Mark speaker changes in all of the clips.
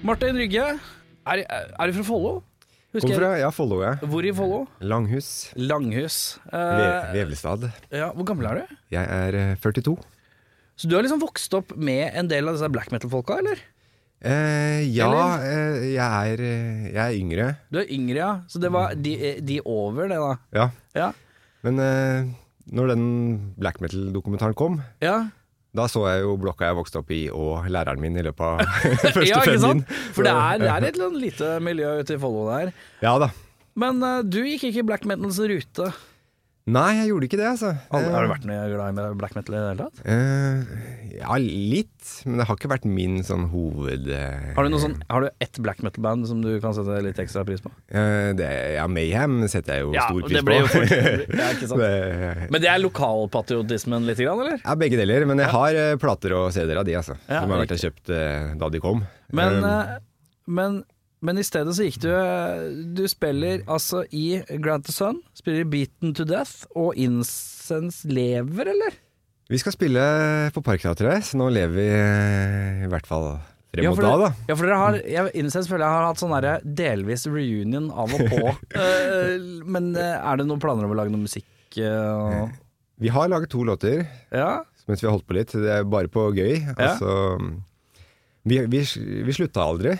Speaker 1: Martin Rygge, er, er du fra Follo? Husker
Speaker 2: Kom
Speaker 1: jeg-
Speaker 2: fra, ja, Follo, ja.
Speaker 1: Hvor i Follo?
Speaker 2: Langhus.
Speaker 1: Langhus.
Speaker 2: Ve-
Speaker 1: Eh,
Speaker 2: Vevelstad.
Speaker 1: ja, hvor gammel er du?
Speaker 2: Jeg er eh, 42.
Speaker 1: Så du har liksom vokst opp med en del av disse black metal-folka, eller?
Speaker 2: Eh, ja, eh, jeg er, eh, jeg er yngre.
Speaker 1: Du er yngre, ja. Så det var de, eh, de over det, da.
Speaker 2: Ja.
Speaker 1: Ja.
Speaker 2: Men eh, når den black metal-dokumentaren kom,
Speaker 1: ja.
Speaker 2: da så jeg jo blokka jeg vokste opp i og læreren min i løpet av første
Speaker 1: ja, ikke
Speaker 2: fem min.
Speaker 1: sant? For det er, det er et eller annet lite miljø ute i Follo der.
Speaker 2: Ja da.
Speaker 1: Men eh, du gikk ikke i black metals rute.
Speaker 2: Nei, jeg gjorde ikke det, altså.
Speaker 1: Har har du vært noe glad i black metal i det hele tatt?
Speaker 2: Eh, ja, litt. Men det har ikke vært min sånn hoved... eh,
Speaker 1: Har du, noe sånn, har du ett black metal-band som du kan sette litt ekstra pris på?
Speaker 2: eh, det, ja, Mayhem setter jeg jo stor pris
Speaker 1: det ble jo
Speaker 2: på.
Speaker 1: fort. Ja, ikke sant?
Speaker 2: det,
Speaker 1: Men det er lokalpatriotismen litt, grann, eller?
Speaker 2: Ja, begge deler, men jeg har eh, plater og CD-er av de, altså.
Speaker 1: Ja,
Speaker 2: som har vært jeg kjøpt eh, da de kom.
Speaker 1: Men,
Speaker 2: Um,
Speaker 1: eh, men, men i stedet så gikk du eh, Du spiller altså i Grant the Sun, spiller i Beaten to Death, og Incense lever, eller?
Speaker 2: vi skal spille eh, på Parkteatret, så nå lever vi eh, i hvert fall frem
Speaker 1: Ja,
Speaker 2: mot
Speaker 1: for
Speaker 2: da, da.
Speaker 1: det- Ja, for dere har jeg, Incense føler jeg har hatt sånn derre delvis reunion av og på. Eh, men eh, er det noen planer om å lage noe musikk? eh, og-
Speaker 2: Vi har laget to låter
Speaker 1: ja?
Speaker 2: mens vi har holdt på litt. Det er bare på gøy. Altså, vi, vi, vi slutta aldri.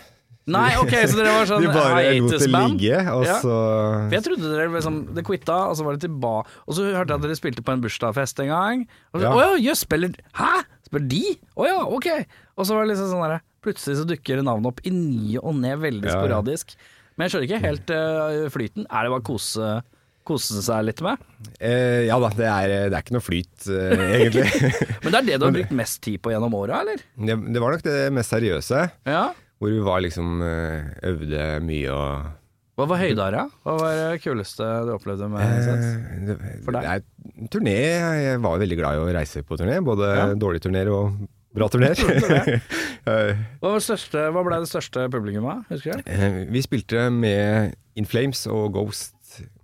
Speaker 1: Nei, ok, så dere var sånn
Speaker 2: Vi bare lot det
Speaker 1: hiatus-band?
Speaker 2: ligge, og
Speaker 1: Ja.
Speaker 2: så
Speaker 1: For Jeg trodde dere liksom Det quitta, og så var det tilbake Og så hørte jeg at dere spilte på en bursdagsfest en gang. Og så,
Speaker 2: Ja.
Speaker 1: Å ja, jøss, spiller Hæ? Spiller de? Å ja, ok. Og så var det liksom sånn derre Plutselig så dukker navnet opp i ny og ne, veldig
Speaker 2: Ja, ja.
Speaker 1: sporadisk. Men jeg skjønner ikke helt eh, flyten. Er det bare kose kose seg litt med?
Speaker 2: eh, Ja da, det er, det er ikke noe flyt, eh, egentlig.
Speaker 1: Men det er det du har brukt mest tid på gjennom åra, eller?
Speaker 2: det, det var nok det mest seriøse,
Speaker 1: Ja.
Speaker 2: hvor vi var liksom eh, øvde mye og
Speaker 1: Hva var høydare? Hva var det kuleste du opplevde med Sens?
Speaker 2: Eh, det-
Speaker 1: For deg?
Speaker 2: Nei, turné Jeg var veldig glad i å reise på turné. Både
Speaker 1: Ja.
Speaker 2: dårlige turnéer og bra turnéer. Eh,
Speaker 1: Hva, var det største, hva ble det største publikummet? Husker du?
Speaker 2: eh, vi spilte med In Flames og Ghost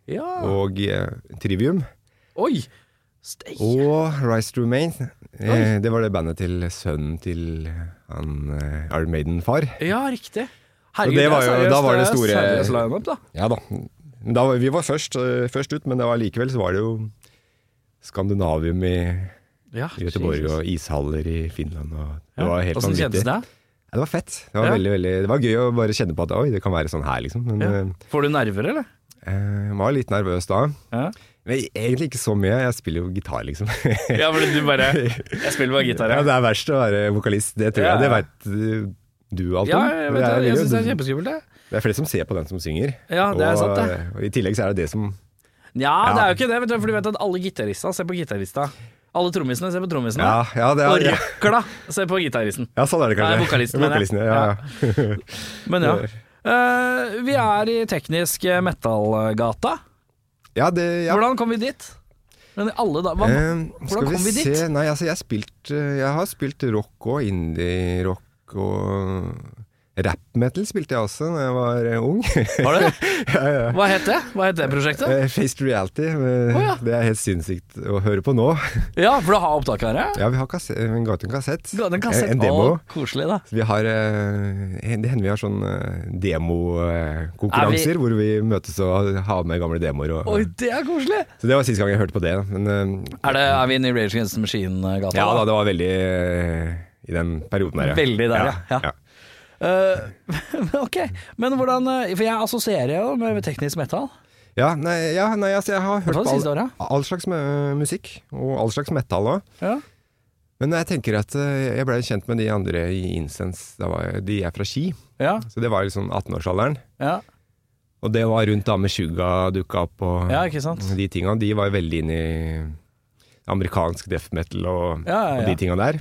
Speaker 1: Ja.
Speaker 2: og eh, Trivium.
Speaker 1: Oi! Steike.
Speaker 2: Og Rise to Remain. Eh, det var det bandet til sønnen til han eh, Iron Maiden-far.
Speaker 1: Ja, riktig.
Speaker 2: Og det var jo-
Speaker 1: seriøst,
Speaker 2: da var det
Speaker 1: er
Speaker 2: store-
Speaker 1: seriøs lineup, da.
Speaker 2: Ja da. Men da var- vi var først, eh, først ut, men det var likevel så var det jo Skandinavium i
Speaker 1: Ja,
Speaker 2: Göteborg og ishaller i Finland. Og det var helt
Speaker 1: Åssen kjentes det?
Speaker 2: Ja, det var fett. Det var,
Speaker 1: Ja.
Speaker 2: veldig, veldig, det var gøy å bare kjenne på at oi, det kan være sånn her, liksom. Men
Speaker 1: Ja.
Speaker 2: eh,
Speaker 1: Får du nerver, eller?
Speaker 2: eh, jeg var litt nervøs da.
Speaker 1: Ja.
Speaker 2: Men egentlig ikke så mye. Jeg spiller jo gitar, liksom.
Speaker 1: ja, men du bare Jeg spiller bare gitar,
Speaker 2: Ja,
Speaker 1: jeg.
Speaker 2: det er verst å være vokalist, det tror
Speaker 1: Ja.
Speaker 2: jeg. Det veit du alt
Speaker 1: Ja,
Speaker 2: om.
Speaker 1: jeg
Speaker 2: Det
Speaker 1: vet
Speaker 2: er
Speaker 1: det. Jeg
Speaker 2: veldig-
Speaker 1: syns det er kjempeskummelt, det.
Speaker 2: det er flere som ser på den som synger.
Speaker 1: Ja, det er
Speaker 2: og, eh,
Speaker 1: sant, det.
Speaker 2: og i tillegg så er det det som
Speaker 1: Ja,
Speaker 2: Ja.
Speaker 1: det er jo ikke det, vet du, for du vet at alle gitarista ser på gitarista. Alle trommisene ser på trommisene.
Speaker 2: Ja, ja, det
Speaker 1: Og
Speaker 2: er, ja.
Speaker 1: røkla ser på gitaristen.
Speaker 2: ja sånn er det kanskje.
Speaker 1: Nei, vokalisten, mener jeg.
Speaker 2: Vokalisten, ja, ja.
Speaker 1: Men ja. Eh, vi er i teknisk eh, metal-gata.
Speaker 2: ja, det, ja.
Speaker 1: Hvordan kom vi dit? Men i alle da, hva,
Speaker 2: Eh, skal
Speaker 1: hvordan
Speaker 2: vi
Speaker 1: kom vi
Speaker 2: se
Speaker 1: dit?
Speaker 2: Nei, altså, jeg, har spilt, eh, jeg har spilt rock og indie-rock og rap-metal spilte jeg også da jeg var eh, ung.
Speaker 1: Var det det? Hva het det? Hva het det prosjektet?
Speaker 2: Eh, Faced reality. eh,
Speaker 1: Å, ja.
Speaker 2: Det er helt sinnssykt å høre på nå.
Speaker 1: Ja, for du har opptak her, ja?
Speaker 2: Ja, vi har kasse- eh, vi ga ut en kassett. Eh,
Speaker 1: Du hadde en kassett.
Speaker 2: En, en demo.
Speaker 1: Å, koselig, da.
Speaker 2: Vi har, eh, det hender vi har sånn
Speaker 1: Er
Speaker 2: demokonkurranser hvor vi møtes og har med gamle demoer. Og,
Speaker 1: Oi, det er koselig!
Speaker 2: Så det var siste gang jeg hørte på det. Men eh,
Speaker 1: Er, det, er vi inne i Rage Against the Machine-gata?
Speaker 2: ja da, det var veldig eh, i den perioden der,
Speaker 1: Veldig der, ja. Ja.
Speaker 2: ja.
Speaker 1: Eh, ok, men hvordan eh, For jeg assosierer jo med med teknisk metal.
Speaker 2: Ja, nei, ja, nei altså, jeg har hørt
Speaker 1: var det
Speaker 2: på
Speaker 1: siste
Speaker 2: all,
Speaker 1: året?
Speaker 2: all slags eh, musikk, og all slags metal òg.
Speaker 1: Ja.
Speaker 2: Men jeg tenker at eh, jeg ble kjent med de andre i Incense, da var jeg, de er fra Ski.
Speaker 1: Ja,
Speaker 2: Så det var liksom 18-årsalderen.
Speaker 1: ja,
Speaker 2: Og det var rundt da med Suga dukka opp og
Speaker 1: ja, ikke sant?
Speaker 2: de tinga. De var veldig inne i amerikansk death metal og,
Speaker 1: Ja, ja, Mm.
Speaker 2: og
Speaker 1: ja.
Speaker 2: de tinga der.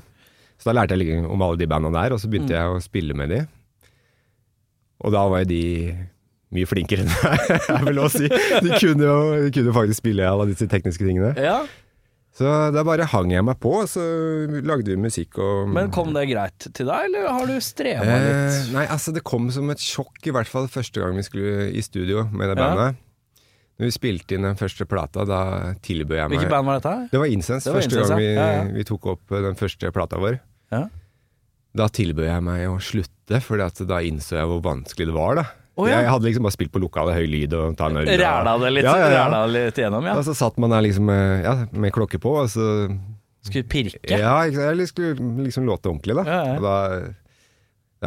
Speaker 2: Så da lærte jeg litt om alle de banda der, og så begynte jeg å spille med de. Og da var jo de mye flinkere enn meg, jeg vil også si. De kunne jo de kunne faktisk spille alle disse tekniske tingene.
Speaker 1: Ja,
Speaker 2: Så da bare hang jeg meg på, og så lagde vi musikk og
Speaker 1: Men kom det greit til deg, eller har du streva
Speaker 2: Eh,
Speaker 1: litt?
Speaker 2: nei, altså det kom som et sjokk, i hvert fall første gang vi skulle i studio med det
Speaker 1: Ja.
Speaker 2: bandet. Når vi spilte inn den første plata, da tilbød jeg meg
Speaker 1: Hvilket band var dette? her?
Speaker 2: Det var Incense
Speaker 1: Det var
Speaker 2: første
Speaker 1: Incense,
Speaker 2: gang vi,
Speaker 1: ja. Ja, ja.
Speaker 2: vi tok opp eh, den første plata vår.
Speaker 1: Ja.
Speaker 2: Da tilbød jeg meg å slutte, for da innså jeg hvor vanskelig det var. da
Speaker 1: Å, ja.
Speaker 2: Jeg hadde liksom bare spilt på lokalet, høy lyd og ta en øl. og-
Speaker 1: Ræla det litt,
Speaker 2: Ja, ja, ja.
Speaker 1: Ræla litt gjennom, ja.
Speaker 2: Og så satt man der liksom eh, ja, med klokke på, og så
Speaker 1: Skulle pirke.
Speaker 2: Ja, ikke sant? jeg skulle liksom låte ordentlig, da.
Speaker 1: Ja, ja.
Speaker 2: Og da,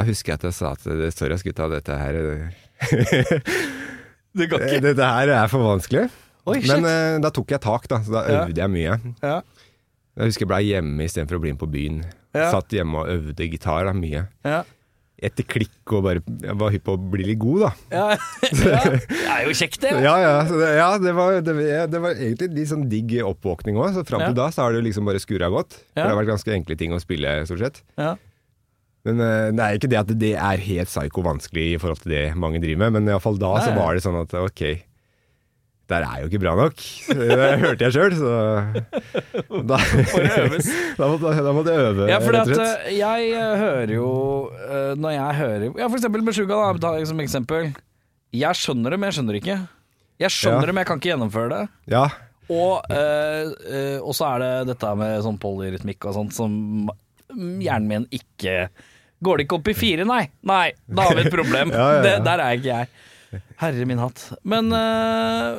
Speaker 2: da husker jeg at jeg sa at eh, sorry, ass, gutta, dette her eh,
Speaker 1: Det går ikke.
Speaker 2: Dette her er for vanskelig.
Speaker 1: Oi, shit.
Speaker 2: Men eh, da tok jeg tak, da. Så da
Speaker 1: Ja.
Speaker 2: øvde jeg mye.
Speaker 1: Ja.
Speaker 2: Jeg husker jeg ble hjemme istedenfor å bli med på byen.
Speaker 1: Ja.
Speaker 2: Satt hjemme og øvde gitar da, mye.
Speaker 1: Ja.
Speaker 2: Etter klikk og bare Jeg var hypp på å bli litt god, da.
Speaker 1: Ja. ja. Det er jo kjekt, det.
Speaker 2: Ja, ja. Så det, ja det, var, det, det var egentlig litt sånn digg oppvåkning òg. Så fram til
Speaker 1: Ja.
Speaker 2: da så har det jo liksom bare skura godt. For
Speaker 1: Ja.
Speaker 2: det har vært ganske enkle ting å spille, stort sett.
Speaker 1: Ja.
Speaker 2: Men eh, det er ikke det at det er helt psyko-vanskelig i forhold til det mange driver med, men iallfall da så
Speaker 1: Nei.
Speaker 2: var det sånn at ok, der er jo ikke bra nok. Det hørte jeg sjøl, så da,
Speaker 1: øves.
Speaker 2: da, måtte, da måtte jeg øve,
Speaker 1: Ja, for
Speaker 2: rett
Speaker 1: at,
Speaker 2: og slett.
Speaker 1: eh, jeg eh, hører jo eh, Når jeg hører Ja, for eksempel Meshuggah, da, tar jeg som eksempel. Jeg skjønner det, men jeg skjønner det ikke. Jeg skjønner
Speaker 2: Ja.
Speaker 1: det, men jeg kan ikke gjennomføre det.
Speaker 2: Ja,
Speaker 1: Og eh, eh, og så er det dette med sånn polyrytmikk og sånt som mm, hjernen min ikke Går det ikke opp i fire, nei? Nei, da har vi et problem.
Speaker 2: Ja, ja, ja.
Speaker 1: Det, der er ikke jeg. Herre min hatt. Men eh,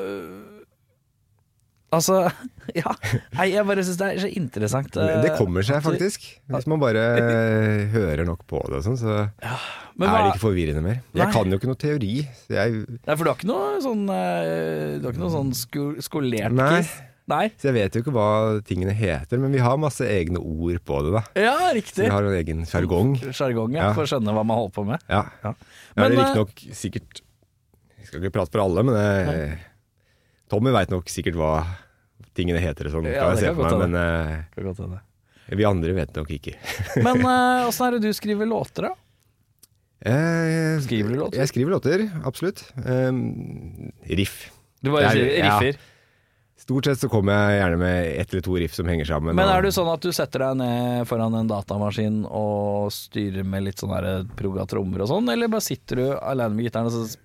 Speaker 1: Altså, ja. Nei, jeg bare syns det er så interessant.
Speaker 2: men det
Speaker 1: eh,
Speaker 2: kommer seg
Speaker 1: at du-
Speaker 2: faktisk. Hvis man bare eh, hører nok på det og sånn, så
Speaker 1: Men
Speaker 2: er
Speaker 1: hva,
Speaker 2: det ikke forvirrende mer.
Speaker 1: Nei.
Speaker 2: Jeg kan jo ikke noe teori. Så jeg,
Speaker 1: Nei, for du har ikke noe sånn eh, Du har ikke noe sånn sko skolert
Speaker 2: Nei.
Speaker 1: kiss? Nei.
Speaker 2: så jeg vet jo ikke hva tingene heter, men vi har masse egne ord på det, da.
Speaker 1: Ja,
Speaker 2: Vi
Speaker 1: riktig.
Speaker 2: har en egen sjargong.
Speaker 1: Sjargong, ja.
Speaker 2: Ja.
Speaker 1: For å skjønne hva man holder på med.
Speaker 2: Ja.
Speaker 1: Ja.
Speaker 2: Ja,
Speaker 1: Men,
Speaker 2: det
Speaker 1: eh,
Speaker 2: er riktignok sikkert Jeg skal ikke prate for alle, men eh, Tommy veit nok sikkert hva tingene heter og sånn,
Speaker 1: Ja,
Speaker 2: kan
Speaker 1: det
Speaker 2: jeg se
Speaker 1: kan
Speaker 2: for
Speaker 1: godt
Speaker 2: meg, men eh,
Speaker 1: Skal godt hende.
Speaker 2: vi andre vet nok ikke.
Speaker 1: Men eh, åssen er det du skriver låter, da?
Speaker 2: Eh,
Speaker 1: Skriver du låter?
Speaker 2: Jeg skriver låter, absolutt. Eh, riff.
Speaker 1: Du
Speaker 2: bare Jeg- skriver- ja.
Speaker 1: riffer.
Speaker 2: Stort sett så kommer jeg gjerne med ett eller to riff som henger sammen.
Speaker 1: Men
Speaker 2: og-
Speaker 1: er du sånn at du setter deg ned foran en datamaskin og styrer med litt sånn her progga trommer og sånn, eller bare sitter du alene med gitaren og så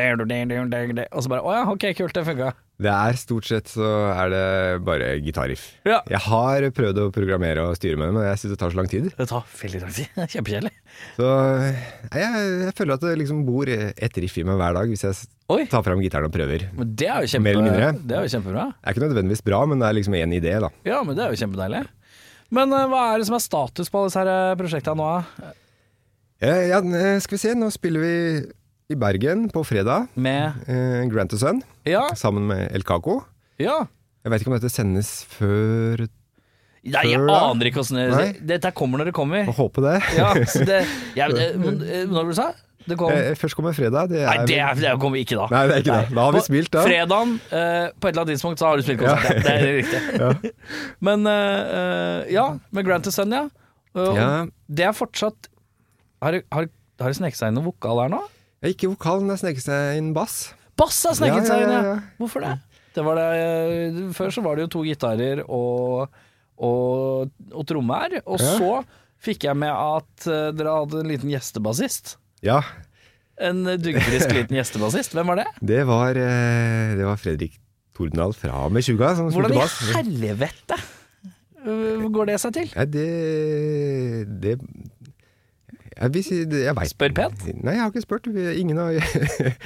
Speaker 1: Og så bare Å ja, ok, kult, det funka.
Speaker 2: Det er Stort sett så er det bare gitarriff.
Speaker 1: Ja.
Speaker 2: Jeg har prøvd å programmere og styre med det, men jeg syns det tar så lang tid.
Speaker 1: Det tar veldig lang tid. Kjempekjedelig.
Speaker 2: Så eh, jeg, jeg føler at det liksom bor et riff i meg hver dag, hvis jeg s-
Speaker 1: Oi.
Speaker 2: tar fram gitaren og prøver.
Speaker 1: Men det er jo kjempe,
Speaker 2: Mer eller mindre.
Speaker 1: Det er jo kjempebra.
Speaker 2: Det er ikke nødvendigvis bra, men det er liksom én idé, da.
Speaker 1: Ja, men det er jo kjempedeilig. Men eh, hva er det som er status på alle disse her eh, prosjektene nå? eh?
Speaker 2: Eh, ja, eh, skal vi se, nå spiller vi i Bergen på fredag.
Speaker 1: Med
Speaker 2: Eh, Grant og Sønn
Speaker 1: Ja,
Speaker 2: sammen med El Caco.
Speaker 1: ja.
Speaker 2: Jeg vet ikke om dette sendes før
Speaker 1: Nei, jeg
Speaker 2: Før da?
Speaker 1: aner ikke åssen
Speaker 2: Nei.
Speaker 1: Dette kommer når det kommer.
Speaker 2: Får håpe det.
Speaker 1: Ja, så det jeg, eh, men, eh, Når du sa det? kom
Speaker 2: Eh, først kommer fredag. Det er,
Speaker 1: Nei, det, er, det kommer vi ikke da.
Speaker 2: Nei, det er ikke det. Da har vi spilt, da.
Speaker 1: Fredagen, eh, på et eller annet tidspunkt, så har du spilt konsert. Det- Det er riktig. Men eh, eh, ja, med Grant to Sun, ja. Eh,
Speaker 2: Ja.
Speaker 1: Det er fortsatt Har det har, har det sneket seg inn noe vokal her nå?
Speaker 2: Ja, ikke vokalen, det sneker seg inn bass.
Speaker 1: Bass har sneket
Speaker 2: Ja,
Speaker 1: seg
Speaker 2: ja,
Speaker 1: inn,
Speaker 2: ja,
Speaker 1: ja.
Speaker 2: ja.
Speaker 1: Hvorfor det? det, var det eh, før så var det jo to gitarer og, og, og tromme her. Og
Speaker 2: Ja.
Speaker 1: så fikk jeg med at eh, dere hadde en liten gjestebassist.
Speaker 2: Ja,
Speaker 1: En duggfrisk liten gjestebassist. Hvem var det?
Speaker 2: det var, eh, det var Fredrik Tordendal fra og med 20 som
Speaker 1: Hvordan i
Speaker 2: spilte bass.
Speaker 1: helvete øh, går det seg til?
Speaker 2: Nei, det, det Jeg, vil si- det- jeg vet-
Speaker 1: Spør pent?
Speaker 2: Nei, jeg har ikke spurt. Vi- Ingen har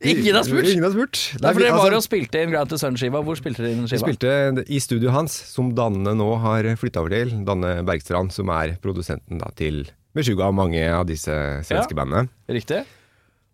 Speaker 1: Ingen har spurt?
Speaker 2: Ingen har spurt.
Speaker 1: Nei, for
Speaker 2: vi-
Speaker 1: Dere var
Speaker 2: altså,
Speaker 1: og spilte inn Grand to Sun-skiva. Hvor spilte dere inn
Speaker 2: vi
Speaker 1: skiva?
Speaker 2: spilte i studioet hans, som Danne nå har flytta over til. Danne Bergstrand, som er produsenten da, til Meshuga og mange av disse svenske
Speaker 1: Ja.
Speaker 2: bandene.
Speaker 1: Riktig.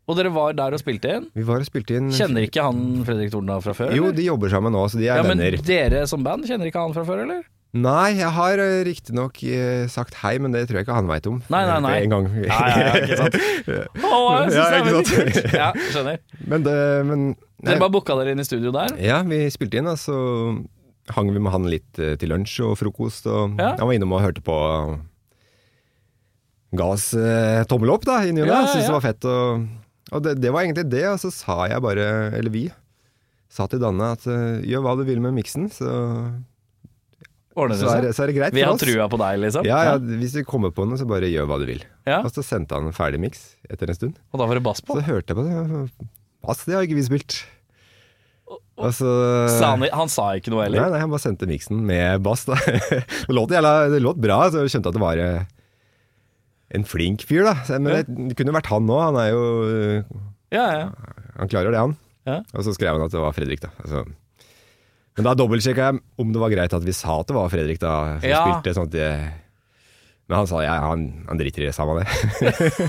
Speaker 1: Og dere var der og spilte inn?
Speaker 2: Vi var og spilte inn
Speaker 1: Kjenner ikke han Fredrik Tordendal fra før?
Speaker 2: Jo,
Speaker 1: eller?
Speaker 2: de jobber sammen nå, så de er
Speaker 1: ja, men
Speaker 2: venner.
Speaker 1: dere som band kjenner ikke han fra før, eller?
Speaker 2: Nei, jeg har eh, riktignok eh, sagt hei, men det tror jeg ikke han veit om.
Speaker 1: Nei, nei, nei.
Speaker 2: En gang.
Speaker 1: Nei, ja, ikke sant. Å, jeg synes
Speaker 2: Ja,
Speaker 1: det er
Speaker 2: ikke
Speaker 1: veldig
Speaker 2: sant?
Speaker 1: kult. Ja, skjønner.
Speaker 2: Men det men,
Speaker 1: Dere bare booka dere inn i studio der?
Speaker 2: Ja, vi spilte inn, og så hang vi med han litt eh, til lunsj og frokost. Og
Speaker 1: Ja.
Speaker 2: Han var innom og hørte på ga oss eh, tommel opp da, i ny og ne.
Speaker 3: Ja, ja,
Speaker 2: Syntes
Speaker 3: ja.
Speaker 2: det var fett. Og, og det, det var egentlig det. Og så sa jeg bare, eller vi, sa til Danne at eh, gjør hva du vil med miksen, så,
Speaker 1: Ordner
Speaker 2: så, er,
Speaker 1: det seg?
Speaker 2: det- så er det greit
Speaker 1: Vi
Speaker 2: for
Speaker 1: har
Speaker 2: oss.
Speaker 1: trua på deg, liksom?
Speaker 2: Ja, ja, hvis du kommer på noe, så bare gjør hva du vil.
Speaker 1: Ja.
Speaker 2: Og så sendte han en ferdig miks etter en stund.
Speaker 1: Og da var det bass på?
Speaker 2: Så hørte jeg på det. Bass, det har ikke vi spilt. Og så eh,
Speaker 1: Sa han, han sa ikke noe
Speaker 2: Nei,
Speaker 1: heller?
Speaker 2: nei, han bare sendte miksen med bass, da. det, låt jævla, det låt bra, så jeg skjønte at det var eh, en flink fyr, da. Så- Men det kunne vært han òg. Han er jo eh,
Speaker 1: Ja, ja.
Speaker 2: Han klarer det, han.
Speaker 1: Ja.
Speaker 2: Og så skrev han at det var Fredrik, da. Altså. Men da dobbeltsjekka jeg om det var greit at vi sa at det var Fredrik, da. Som
Speaker 1: Ja.
Speaker 2: spilte sånn at det Men han sa ja, han, han driter i det, sa han det.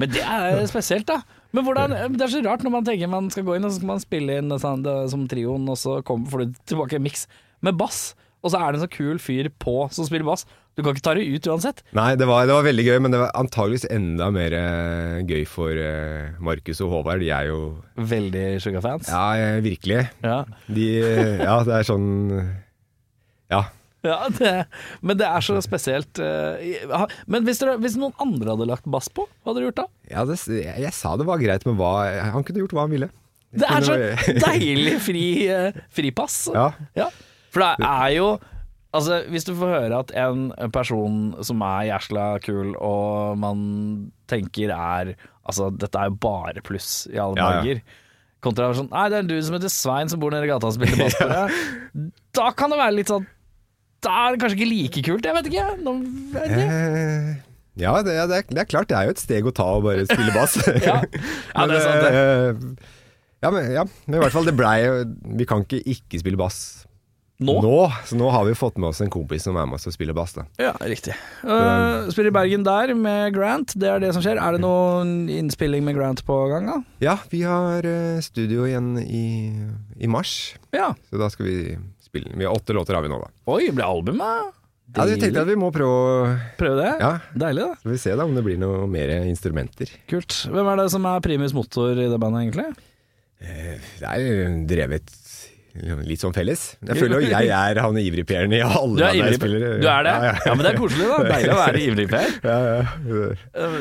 Speaker 1: Men det er spesielt, da. Men hvordan, Det er så rart når man tenker man skal gå inn og så skal man spille inn sånn, det, som trioen, og så kommer, får du tilbake en miks med bass. Og så er det en så kul fyr på som spiller bass. Du kan ikke ta det ut uansett.
Speaker 2: Nei, det var, det var veldig gøy, men det var antageligvis enda mer eh, gøy for eh, Markus og Håvard. De er jo
Speaker 1: Veldig Sugar-fans.
Speaker 2: Ja, eh, virkelig.
Speaker 1: Ja.
Speaker 2: De Ja, det er sånn Ja.
Speaker 1: Ja, det, men det er så spesielt. eh, i- ha- Men hvis, dere, hvis noen andre hadde lagt bass på, hva hadde dere gjort da?
Speaker 2: ja det, jeg, jeg sa det var greit, men hva Han kunne gjort hva han ville.
Speaker 1: Det er så
Speaker 2: kunne
Speaker 1: deilig fri, eh, fripass.
Speaker 2: Ja.
Speaker 1: Ja, for det er jo Altså, hvis du får høre at en person som er jæsla kul, og man tenker er Altså, dette er jo bare pluss i alle
Speaker 2: Ja, ja.
Speaker 1: dager. Kontra sånn Nei, det er en dude som heter Svein som bor nede i gata og spiller bass på deg. Da kan det være litt sånn Da er det kanskje ikke like kult, jeg vet ikke. Nå vet jeg. ikke.
Speaker 2: Eh, Ja, det, ja, det, er, det er klart. Det er jo et steg å ta å bare spille bass.
Speaker 1: Ja. ja, det er sant, det.
Speaker 2: det. Ja, men, ja, men i hvert fall, det blei jo- Vi kan ikke ikke spille bass
Speaker 1: Nå?
Speaker 2: Så nå har vi fått med oss en kompis som er med oss og spiller bass, da.
Speaker 1: Ja, riktig. Eh, spiller i Bergen der med Grant, det er det som skjer. Er det noen innspilling med Grant på gang, da?
Speaker 2: Ja, vi har eh, studio igjen i, i mars,
Speaker 1: Ja.
Speaker 2: så da skal vi spille den. Vi har åtte låter har vi nå, da.
Speaker 1: Oi, blir albumet?
Speaker 2: Ja, jeg tenkte at vi må prøve å
Speaker 1: Prøv det?
Speaker 2: Ja,
Speaker 1: Deilig, da.
Speaker 2: så får vi se da om det blir noe mer instrumenter.
Speaker 1: Kult. Hvem er det som er primus motor i det bandet, egentlig?
Speaker 2: Det er jo drevet litt sånn felles. Jeg føler jo jeg er han ivrigperen i alle band jeg spiller.
Speaker 1: Du er det? Ja,
Speaker 2: Ja, ja.
Speaker 1: men det er koselig, da. Deilig å være ivrig per.
Speaker 2: Ja, ja.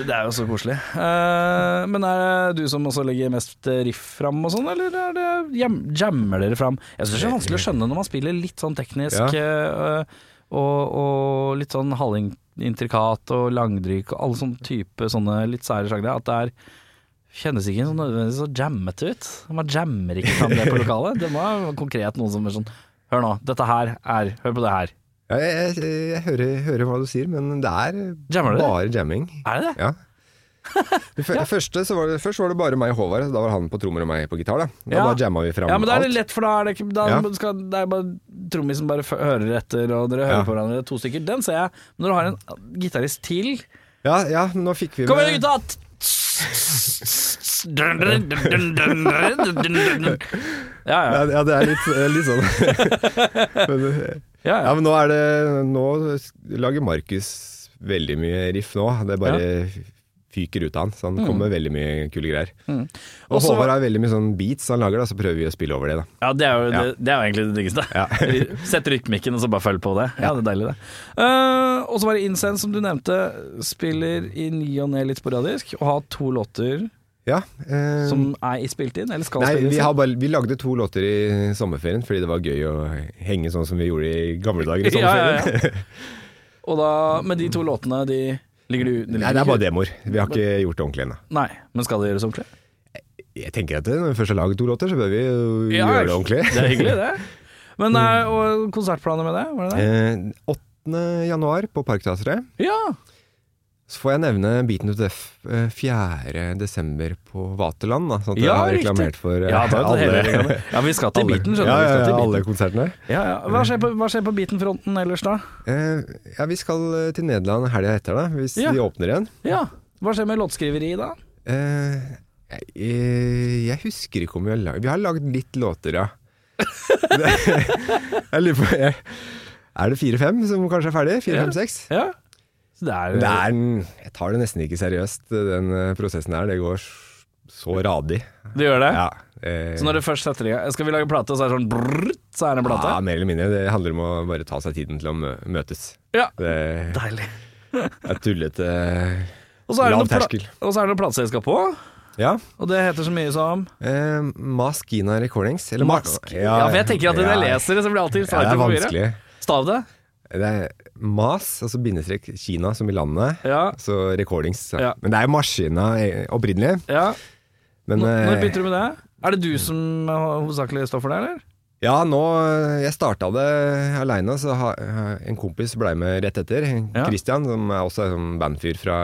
Speaker 1: Det er jo så koselig. Eh, Men er det du som også legger mest riff fram og sånn, eller er det jam- jammer dere fram? Jeg syns det er vanskelig å skjønne når man spiller litt sånn teknisk
Speaker 2: Ja.
Speaker 1: eh, og, og litt sånn halvintrikat og langdryk og alle sånne type sånne litt sære sjangre, at det er Kjennes ikke sånn nødvendigvis så jammete ut. Man jammer ikke fram det på lokalet. Det må være konkret noen som er sånn Hør nå, dette her er Hør på det her.
Speaker 2: Ja, jeg, jeg, jeg hører, hører hva du sier, men det er
Speaker 1: Jammer dere?
Speaker 2: bare jamming.
Speaker 1: Er det det?
Speaker 2: Ja. Det fø- Første, så var det, først var det bare meg og Håvard, da var han på trommer og meg på gitar. Da, da
Speaker 1: Ja.
Speaker 2: bare jamma vi fram
Speaker 1: Ja, men da er det
Speaker 2: alt.
Speaker 1: lett, for da er det ikke da
Speaker 2: Ja.
Speaker 1: skal, Det er bare trommisen bare f hører etter, og dere hører
Speaker 2: Ja.
Speaker 1: på hverandre, to stykker. Den ser jeg. Men når du har en gitarist til
Speaker 2: Ja, ja, nå fikk vi
Speaker 1: Kom
Speaker 2: med-
Speaker 1: igjen, gutta! Ja,
Speaker 2: Ja,
Speaker 1: ja.
Speaker 2: ja, det er sånn. litt, litt sånn. men,
Speaker 1: ja,
Speaker 2: Ja,
Speaker 1: ja.
Speaker 2: men nå er det Nå lager Markus veldig mye riff nå. Det bare fyker ut av han. Så han kommer med veldig mye kule greier. Og
Speaker 1: Mm. Også-
Speaker 2: Håvard har veldig mye sånn beats han lager, da, så prøver vi å spille over det, da.
Speaker 1: ja det, er jo,
Speaker 2: Ja.
Speaker 1: det, det er jo egentlig det diggeste. Sett rytmikken, og så bare følg på det. Ja, det er deilig, det. Eh, og så var det Incense, som du nevnte. Spiller i ny og ne litt sporadisk, og har to låter
Speaker 2: Ja. Eh,
Speaker 1: som er spilt inn, eller skal
Speaker 2: nei,
Speaker 1: spilles
Speaker 2: vi,
Speaker 1: inn.
Speaker 2: har bare, vi lagde to låter i sommerferien fordi det var gøy å henge sånn som vi gjorde i gamle dager i sommerferien.
Speaker 1: Ja, ja, ja. Og da, men de to låtene, de ligger du de ligger
Speaker 2: Nei, det er bare
Speaker 1: ikke-
Speaker 2: demoer. Vi har ikke gjort det ordentlig ennå.
Speaker 1: Nei, men skal det gjøres ordentlig?
Speaker 2: Jeg tenker at eh, når vi først har laget to låter, så bør vi jo
Speaker 1: Ja,
Speaker 2: gjøre det ordentlig.
Speaker 1: Det er hyggelig, det. Men eh, og konsertplaner med det? Var det det?
Speaker 2: Eh, 8. januar på Parkteatret.
Speaker 1: Ja!
Speaker 2: Så får jeg nevne Beaten to Death eh, 4. desember på Vaterland, da, sånn at
Speaker 1: Ja,
Speaker 2: jeg har
Speaker 1: riktig.
Speaker 2: reklamert for eh,
Speaker 1: Ja, da er det hele
Speaker 2: alle,
Speaker 1: regelen. ja, vi skal til
Speaker 2: alle,
Speaker 1: Beaten, skjønner
Speaker 2: ja,
Speaker 1: du. Vi
Speaker 2: ja,
Speaker 1: skal
Speaker 2: ja,
Speaker 1: til
Speaker 2: alle
Speaker 1: Beaten.
Speaker 2: konsertene.
Speaker 1: Ja, ja. Hva skjer på, hva skjer på Beaten-fronten ellers, da?
Speaker 2: Eh, ja, vi skal eh, til Nederland helga etter, da, hvis
Speaker 1: Ja.
Speaker 2: de åpner igjen.
Speaker 1: Ja. Hva skjer med låtskriveri da?
Speaker 2: Eh, jeg, eh, jeg husker ikke om vi har lagd Vi har lagd litt låter, ja. Det- jeg lurer på jeg, Er det fire-fem som kanskje er ferdig?
Speaker 1: Ja.
Speaker 2: Fire-fem-seks?
Speaker 1: Ja. Så det er,
Speaker 2: Det er, en- jeg tar det nesten ikke seriøst, den eh, prosessen her. Det går s- så radig.
Speaker 1: Du gjør det?
Speaker 2: Ja, eh,
Speaker 1: Så når det først setter i gang Skal vi lage plate, så er det sånn brrrt, så er det en plate?
Speaker 2: Ja, mer eller mindre. Det handler om å bare ta seg tiden til å mø- møtes.
Speaker 1: Ja.
Speaker 2: Det,
Speaker 1: Deilig.
Speaker 2: Det er tullete
Speaker 1: Og så er det noe
Speaker 2: Lav
Speaker 1: pla-
Speaker 2: terskel.
Speaker 1: og så er det noe plateselskap òg,
Speaker 2: Ja.
Speaker 1: og det heter så mye som
Speaker 2: Eh, Maskina Recordings. Eller Ma-
Speaker 1: Mask. Ja, for jeg tenker at når jeg leser det, så blir jeg alltid
Speaker 2: ja, Det
Speaker 1: svært
Speaker 2: er
Speaker 1: forvirret.
Speaker 2: vanskelig.
Speaker 1: Stav det.
Speaker 2: Det er Mas, altså bindestrekk Kina som i landet.
Speaker 1: Ja.
Speaker 2: Så recordings. ja.
Speaker 1: Ja.
Speaker 2: Men det er jo maskina eh, opprinnelig.
Speaker 1: ja.
Speaker 2: Men
Speaker 1: Når,
Speaker 2: eh,
Speaker 1: når begynte du med det? Er det du som eh, hovedsakelig står for det, eller?
Speaker 2: Ja, nå eh, Jeg starta det aleine, så ha, en kompis blei med rett etter.
Speaker 1: Ja.
Speaker 2: Christian, som er også er sånn bandfyr fra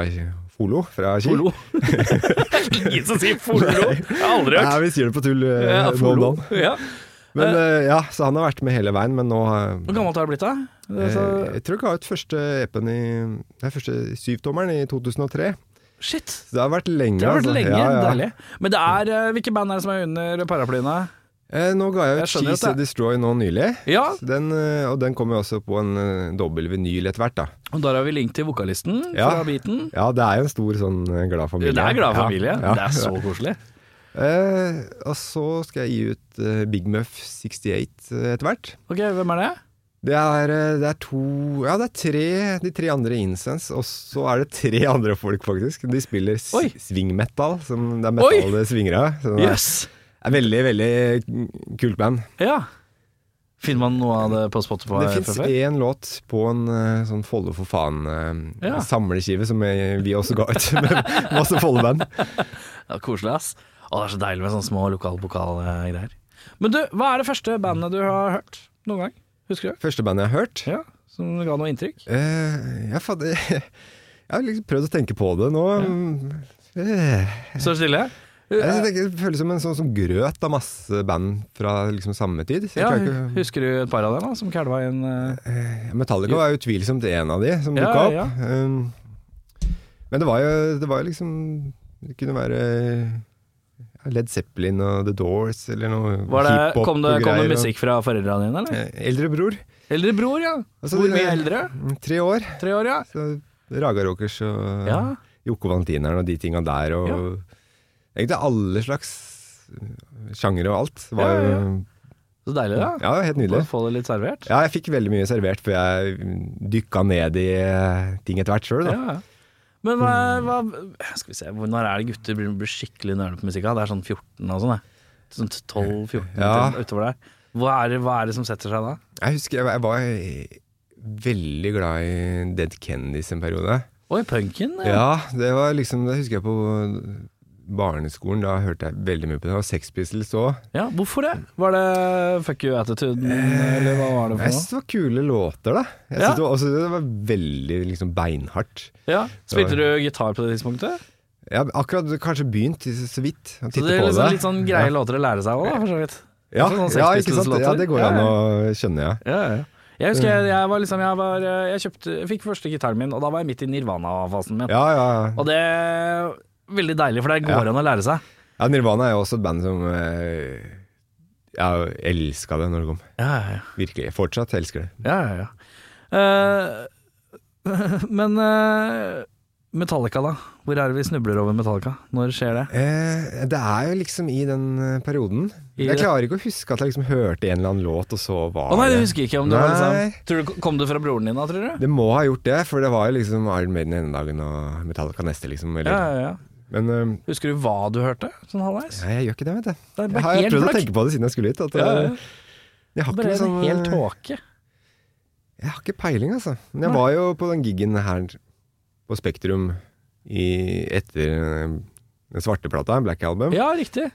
Speaker 2: Folo. Fra Kiel.
Speaker 1: Polo. Ingen som sier polo! Jeg har aldri
Speaker 2: Ja,
Speaker 1: hørt.
Speaker 2: vi sier det på tull. eh,
Speaker 1: Ja,
Speaker 2: nå om
Speaker 1: polo.
Speaker 2: dagen.
Speaker 1: Ja.
Speaker 2: Men eh, ja, så han har vært med hele veien, men nå eh,
Speaker 1: Hvor gammelt har du blitt, da? Det er
Speaker 2: Eh,
Speaker 1: så-
Speaker 2: Jeg tror jeg ga ut første epen i Nei, første syvtommeren i 2003.
Speaker 1: Shit!
Speaker 2: Så det har vært lenge.
Speaker 1: Det har vært
Speaker 2: altså.
Speaker 1: lenge.
Speaker 2: Ja, ja.
Speaker 1: Deilig. Men det er eh, Hvilke band er det som er under paraplyen? da?
Speaker 2: Eh, nå ga jeg
Speaker 1: Jeg
Speaker 2: ut
Speaker 1: skjønner at
Speaker 2: Cheese and
Speaker 1: det-
Speaker 2: Destroy nå nylig.
Speaker 1: Ja,
Speaker 2: Så Den, eh, og den kommer jo også på en eh, dobbel vinyl etter hvert, da.
Speaker 1: og der har vi link til vokalisten
Speaker 2: Ja.
Speaker 1: fra Beaten.
Speaker 2: Ja, det er jo en stor sånn eh, glad familie.
Speaker 1: Det er glad familie.
Speaker 2: Ja, ja.
Speaker 1: Det er så koselig.
Speaker 2: Eh, og så skal jeg gi ut eh, Big Muff 68 etter hvert.
Speaker 1: Ok, Hvem er det?
Speaker 2: Det er, eh, det er to Ja, det er tre, de tre andre i Incense, og så er det tre andre folk, faktisk. De spiller s-
Speaker 1: Oi.
Speaker 2: swing-metal, som det er
Speaker 1: Oi.
Speaker 2: metal det svinger av. Så det er-
Speaker 1: Jøss!
Speaker 2: er veldig, veldig kult band.
Speaker 1: Ja. Finner man noe av det på Spotify?
Speaker 2: det fins
Speaker 1: fra før?
Speaker 2: én låt på en eh, sånn Follo for faen-samleskive
Speaker 1: Ja.
Speaker 2: som jeg, vi også ga ut, med masse Follo-band.
Speaker 1: Ja, koselig, ass. Å, det er så deilig med sånne små lokal-pokal-greier. Men du, hva er det første bandet du har hørt noen gang? Husker du?
Speaker 2: Første bandet jeg har hørt.
Speaker 1: Ja, Som ga noe inntrykk?
Speaker 2: Eh, jeg, fader, jeg har liksom prøvd å tenke på det nå. Eh,
Speaker 1: Så stille? Eh,
Speaker 2: jeg tenker, det føles som en sånn som grøt av masse band fra liksom samme tid. Så jeg
Speaker 1: Ja,
Speaker 2: klarer ikke,
Speaker 1: Husker du et par av dem da, som kælva inn eh,
Speaker 2: Metallica var utvilsomt en av de som
Speaker 1: Ja,
Speaker 2: dukka opp.
Speaker 1: ja.
Speaker 2: Um, men det var jo det var jo liksom Det kunne være ja, Led Zeppelin og The Doors eller noe
Speaker 1: var det,
Speaker 2: hiphop
Speaker 1: kom, det,
Speaker 2: og
Speaker 1: kom det
Speaker 2: greier, og-
Speaker 1: musikk fra foreldrene dine, eller?
Speaker 2: Eh, Eldre bror.
Speaker 1: Eldre bror, ja.
Speaker 2: Altså,
Speaker 1: Hvor
Speaker 2: det-
Speaker 1: mye eldre?
Speaker 2: Tre år.
Speaker 1: Tre år, ja.
Speaker 2: Så Raga Rockers og
Speaker 1: ja.
Speaker 2: Joko Vantineren og de tinga der. Og egentlig alle slags eh, sjangere og alt. Det Var,
Speaker 1: Ja, ja,
Speaker 2: ja,
Speaker 1: ja. Så deilig, da.
Speaker 2: helt
Speaker 1: Bare
Speaker 2: nydelig.
Speaker 1: Få det litt servert.
Speaker 2: Ja, jeg fikk veldig mye servert før jeg dykka ned i eh, ting etter hvert sjøl.
Speaker 1: Ja, ja. Men hva, hva Skal vi se, hvor- når er det gutter blir, blir skikkelig nørne på musikka? Det er sånn 14 og sånn, det. Sånn 12-14
Speaker 2: Ja.
Speaker 1: til- utover der. Hva er, det, hva er det som setter seg da?
Speaker 2: Jeg husker jeg, jeg var veldig glad i Dead Kennedys en periode.
Speaker 1: Oi, punken? Ja.
Speaker 2: Ja, det var liksom Det husker jeg på barneskolen. Da hørte jeg veldig mye på det. Og Sex Pistols òg.
Speaker 1: ja. Hvorfor det? Var det fuck you attitude, eller hva var det for
Speaker 2: Jeg
Speaker 1: noe?
Speaker 2: synes det var kule låter, da. Jeg
Speaker 1: Ja.
Speaker 2: synes det, var, altså, det var veldig liksom beinhardt.
Speaker 1: Ja. Spilte du gitar på det tidspunktet?
Speaker 2: Jeg har akkurat kanskje begynt så- så vidt å
Speaker 1: Så
Speaker 2: titte
Speaker 1: det er
Speaker 2: på
Speaker 1: liksom
Speaker 2: det.
Speaker 1: litt sånn greie
Speaker 2: ja.
Speaker 1: låter å lære seg òg, da, for så vidt.
Speaker 2: Ja,
Speaker 1: Sånn Sex
Speaker 2: ja, ikke sant?
Speaker 1: Pistols-låter.
Speaker 2: ja, det går
Speaker 1: Ja,
Speaker 2: an
Speaker 1: ja.
Speaker 2: å Mm. skjønne, ja.
Speaker 1: Ja, ja. Jeg husker jeg, jeg var liksom Jeg, var, eh, jeg, kjøpte, jeg fikk første gitaren min, og da var jeg midt i nirvana-fasen min.
Speaker 2: Ja, ja.
Speaker 1: Og det er veldig deilig, for det går an å lære seg.
Speaker 2: ja Nirvana er jo også et band som eh, Jeg elska det når det kom.
Speaker 1: Ja, ja, ja.
Speaker 2: Virkelig. Jeg Fortsatt elsker det.
Speaker 1: ja, ja, ja. Eh, men eh, Metallica, da. Hvor er det vi snubler over Metallica? Når skjer det?
Speaker 2: Eh, det er jo liksom i den eh, perioden.
Speaker 1: I
Speaker 2: jeg
Speaker 1: det-
Speaker 2: klarer ikke å huske at jeg liksom hørte en eller annen låt, og så var
Speaker 1: Å nei, det
Speaker 2: det
Speaker 1: husker jeg ikke om det var
Speaker 2: Nei.
Speaker 1: liksom tror du, Kom det fra broren din da, tror du?
Speaker 2: Det må ha gjort det, for det var jo liksom Iron Maiden ene dagen og Metallica neste, liksom.
Speaker 1: Ja,
Speaker 2: Eller.
Speaker 1: ja, ja.
Speaker 2: Men eh,
Speaker 1: Husker du hva du hørte? Sånn halvveis?
Speaker 2: nei, jeg gjør ikke det, vet du.
Speaker 1: Det er
Speaker 2: Jeg
Speaker 1: bare
Speaker 2: har jeg
Speaker 1: helt
Speaker 2: prøvd å
Speaker 1: blakk.
Speaker 2: tenke på det siden jeg skulle hit. At,
Speaker 1: Ja,
Speaker 2: eh,
Speaker 1: ja.
Speaker 2: Jeg har
Speaker 1: Bare
Speaker 2: ikke
Speaker 1: en
Speaker 2: liksom,
Speaker 1: hel
Speaker 2: eh,
Speaker 1: tåke.
Speaker 2: Jeg har ikke peiling, altså. Men jeg
Speaker 1: Nei.
Speaker 2: var jo på den gigen her på Spektrum i, etter eh, den svarte plata, Black Album.
Speaker 1: Ja, riktig.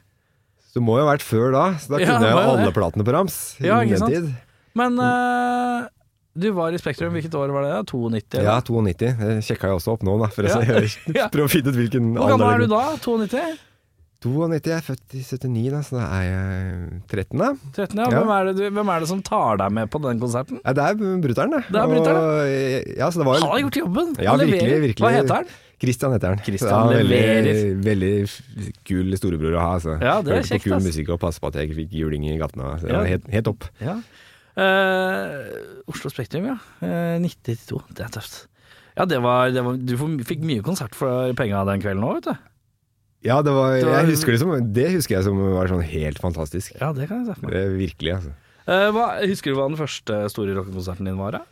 Speaker 2: Så det må jo ha vært før da, så da
Speaker 1: Ja,
Speaker 2: kunne jeg
Speaker 1: det
Speaker 2: jo
Speaker 1: var jo
Speaker 2: alle
Speaker 1: det.
Speaker 2: platene på rams. i
Speaker 1: Ja,
Speaker 2: den
Speaker 1: ikke sant?
Speaker 2: tid. Mm.
Speaker 1: Men eh, du var i Spektrum, hvilket år var det? da? 92?
Speaker 2: Ja,
Speaker 1: eller?
Speaker 2: 92. Det sjekka jeg også opp nå, da, for
Speaker 1: Ja. Ja.
Speaker 2: å prøve å finne ut hvilken
Speaker 1: Hvor gammel er
Speaker 2: det
Speaker 1: du da? 92?
Speaker 2: 92, jeg er født i 79, da, så da er jeg 13, da.
Speaker 1: 13, ja.
Speaker 2: Ja.
Speaker 1: Hvem, er det, du, hvem er det som tar deg med på den konserten?
Speaker 2: Ja, det er brutter'n, det.
Speaker 1: Det er brutter'n,
Speaker 2: Og, eh, ja, så det var
Speaker 1: Han
Speaker 2: jo
Speaker 1: har gjort jobben!
Speaker 2: Ja,
Speaker 1: Han leverer.
Speaker 2: virkelig, virkelig.
Speaker 1: Hva heter han?
Speaker 2: Christian heter han.
Speaker 1: Christian
Speaker 2: Ja,
Speaker 1: leverer.
Speaker 2: veldig, veldig kul storebror å ha. Altså.
Speaker 1: Ja, det er
Speaker 2: Hørte
Speaker 1: kjekt,
Speaker 2: på kul
Speaker 1: ass.
Speaker 2: musikk og passe på at jeg ikke fikk juling i gatene. Så det
Speaker 1: Ja.
Speaker 2: var helt, helt topp.
Speaker 1: Ja. Eh, Oslo Spektrum, ja. Eh, 92. Det er tøft. Ja, det var, det var Du får- fikk mye konsert for penga den kvelden òg, vet du.
Speaker 2: Ja, det var,
Speaker 1: Det var-
Speaker 2: jeg husker det, som, det husker jeg som var sånn helt fantastisk.
Speaker 1: Ja, det kan jeg se for meg.
Speaker 2: Det er virkelig, altså.
Speaker 1: Eh, hva, husker du hva den første store rockekonserten din var? da?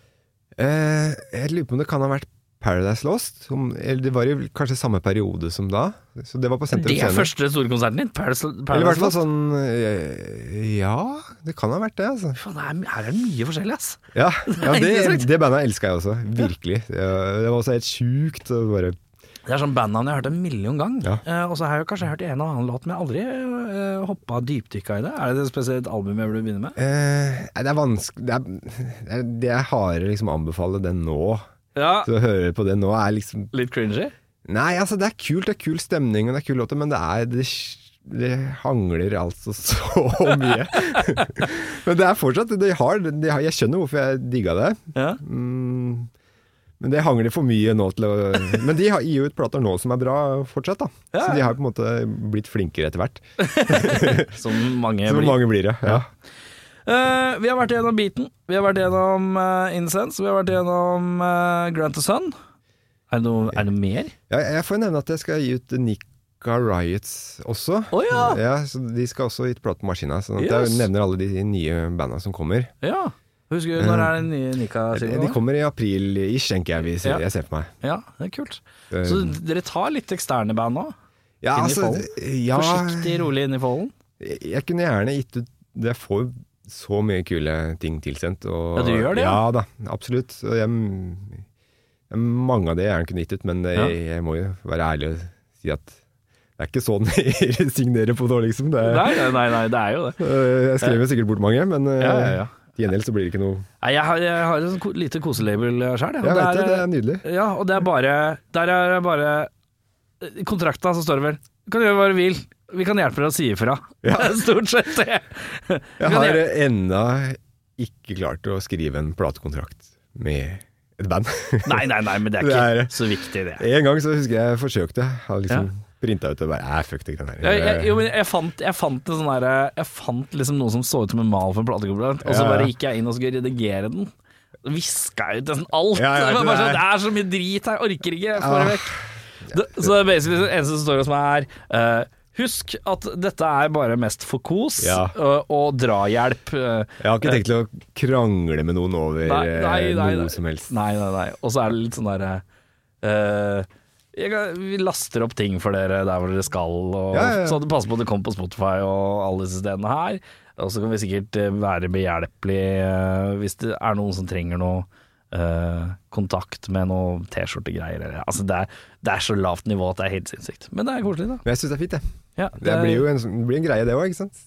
Speaker 2: Eh, jeg lurer på om det kan ha vært Paradise Lost. Som, eller det var i kanskje samme periode som da. Så det var på Sentrum
Speaker 1: Det er
Speaker 2: Scene.
Speaker 1: første store konserten din? Paris,
Speaker 2: Eller i hvert fall
Speaker 1: Lost?
Speaker 2: sånn eh, Ja, det kan ha vært det, altså.
Speaker 1: Faen, her- her er det mye forskjellig, ass.
Speaker 2: Ja, ja
Speaker 1: Ikke
Speaker 2: det,
Speaker 1: sant?
Speaker 2: det bandet elska jeg også. Virkelig. Det det var også helt sjukt. å Bare,
Speaker 1: Det er sånn bandnavn jeg har hørt en million gang.
Speaker 2: Ja.
Speaker 1: Eh, og så har jeg kanskje hørt en og annen låt, men jeg har aldri eh, hoppa dypdykka i det. Er det et spesielt album jeg burde begynne med?
Speaker 2: eh, nei, det er vanskelig Det er, det er, det er hardere liksom å anbefale det nå.
Speaker 1: Ja,
Speaker 2: Så å høre på det nå er liksom
Speaker 1: Litt cringy?
Speaker 2: Nei, altså det er kult, det er kul stemning og det er kule låter, men det er det, det hangler altså så mye. men det er fortsatt det har, det har, Jeg skjønner hvorfor jeg digga det.
Speaker 1: Ja.
Speaker 2: Mm, men det hangler for mye nå til å Men de har gir jo ut plater nå som er bra fortsatt, da.
Speaker 1: Ja.
Speaker 2: Så de har på en måte blitt flinkere etter hvert.
Speaker 1: Som mange
Speaker 2: Så
Speaker 1: blir.
Speaker 2: mange blir det. Ja.
Speaker 1: Eh, vi har vært gjennom Beaten, vi har vært gjennom eh, Incense, vi har vært gjennom eh, Grant the Sun. Er det noe, er det noe mer?
Speaker 2: Ja, jeg får nevne at jeg skal gi ut Nika Riots også.
Speaker 1: Å ja!
Speaker 2: så De skal også gi ut plate på Maskina. Så
Speaker 1: Yes.
Speaker 2: jeg nevner alle de nye banda som kommer.
Speaker 1: ja. Husker du når er den nye
Speaker 2: De Eh, de
Speaker 1: Nika-singelen?
Speaker 2: kommer i april-ish, tenker jeg. Vi ser,
Speaker 1: Ja.
Speaker 2: Jeg ser for meg.
Speaker 1: Ja, det er kult.
Speaker 2: Eh,
Speaker 1: Så dere tar litt eksterne band nå?
Speaker 2: ja,
Speaker 1: inn i
Speaker 2: altså, ja,
Speaker 1: Forsiktig, rolig inn i folden?
Speaker 2: Jeg, jeg kunne gjerne gitt ut Jeg får så mye kule ting tilsendt. Og,
Speaker 1: Ja, du gjør det,
Speaker 2: Ja,
Speaker 1: ja.
Speaker 2: da, absolutt. Og jeg, jeg- mange av det jeg gjerne kunne gitt ut, men jeg, jeg må jo være ærlig og si at det er ikke sånn jeg signerer på nå, liksom. Det,
Speaker 1: Nei, nei, nei, nei, det er jo det.
Speaker 2: Eh, Jeg skrev jo sikkert bort mange, men eh,
Speaker 1: Ja, ja, ja.
Speaker 2: til gjengjeld så blir det ikke noe
Speaker 1: Nei, jeg har, jeg har et sånt ko- lite koselabel eh, sjøl.
Speaker 2: Jeg vet det, det er nydelig.
Speaker 1: eh, Ja, og det er bare Der er det bare eh, I kontrakta så står det vel Du kan gjøre hva du vil. Vi kan hjelpe deg å si ifra. Stort sett det. Vi
Speaker 2: Jeg
Speaker 1: kan
Speaker 2: har
Speaker 1: hjelpe-
Speaker 2: ennå ikke klart å skrive en platekontrakt med et band.
Speaker 1: Nei, nei, nei, men det er
Speaker 2: Det er-
Speaker 1: ikke så viktig, det.
Speaker 2: en gang så husker jeg jeg forsøkte. Jeg Hadde liksom printa ut og bare Æ, fuck det greiene her.
Speaker 1: Jeg, jeg, jo, men jeg fant, jeg fant en sånn derre- Jeg fant liksom noe som så ut som en mal for en platekontrakt, og så
Speaker 2: Ja, ja.
Speaker 1: bare gikk jeg inn og skulle redigere den. Så Viska jeg ut nesten alt.
Speaker 2: Ja, ja,
Speaker 1: det, var
Speaker 2: det
Speaker 1: bare sånn,
Speaker 2: er- Ah.
Speaker 1: det er så mye drit her, jeg orker ikke. Jeg får det vekk. Det, så det er basically det eneste som står hos meg, er eh, Husk at dette er bare mest for kos
Speaker 2: Ja.
Speaker 1: og, og drahjelp. eh,
Speaker 2: jeg har ikke tenkt til å krangle med noen over
Speaker 1: Nei, nei,
Speaker 2: eh,
Speaker 1: nei, nei.
Speaker 2: noe som helst.
Speaker 1: Nei, nei, nei. Og så er det litt sånn derre eh, jeg kan- Vi laster opp ting for dere der hvor dere skal, og,
Speaker 2: Ja, ja, ja.
Speaker 1: så det passer på at det kommer på Spotify og alle disse stedene her. Og så kan vi sikkert eh, være behjelpelige eh, hvis det er noen som trenger noe. eh, kontakt med noe T-skjortegreier eller altså det, er- det er så lavt nivå at det er helt sinnssykt. Men det er koselig, da.
Speaker 2: Men jeg syns det er fint, det.
Speaker 1: Ja,
Speaker 2: Det blir jo en, det blir en greie, det òg, ikke sant.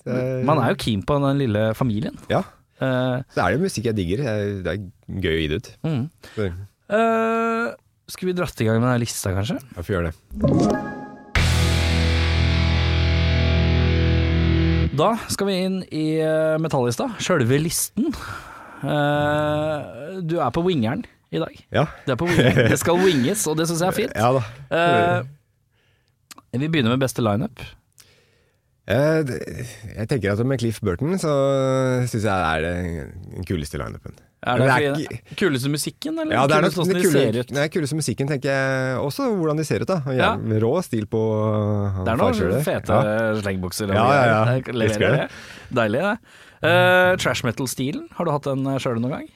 Speaker 1: man er jo keen på den lille familien.
Speaker 2: Ja.
Speaker 1: Eh,
Speaker 2: Så er det jo musikk jeg digger. Jeg- Det er gøy å gi det ut.
Speaker 1: mm.
Speaker 2: Så,
Speaker 1: Eh, skal vi dratt i gang med den lista, kanskje?
Speaker 2: jeg får gjøre det.
Speaker 1: Da skal vi inn i eh, metallista, sjølve listen. Eh, du er på wingeren i dag.
Speaker 2: Ja.
Speaker 1: Det, er på wingeren. det skal winges, og det syns jeg er fint.
Speaker 2: Ja da.
Speaker 1: Eh, vi begynner med beste lineup.
Speaker 2: Eh, det- Jeg tenker at med Cliff Burton så syns jeg det er det den kuleste lineupen.
Speaker 1: Er det,
Speaker 2: Men det er
Speaker 1: fordi- kuleste musikken, eller?
Speaker 2: Ja, det er nok
Speaker 1: kuleste hvordan
Speaker 2: den
Speaker 1: de
Speaker 2: kule,
Speaker 1: ser ut?
Speaker 2: nei, kuleste musikken, tenker jeg. Også hvordan de ser ut, da. Og
Speaker 1: Ja.
Speaker 2: jævlig Rå stil på uh,
Speaker 1: Det er noen
Speaker 2: farskjøret.
Speaker 1: fete
Speaker 2: Ja.
Speaker 1: slengbukser.
Speaker 2: Ja, ja, ja.
Speaker 1: Jeg
Speaker 2: Elsker
Speaker 1: Leverer det.
Speaker 2: det.
Speaker 1: Deilig, det. Eh, trash metal-stilen, har du hatt den sjøl noen gang?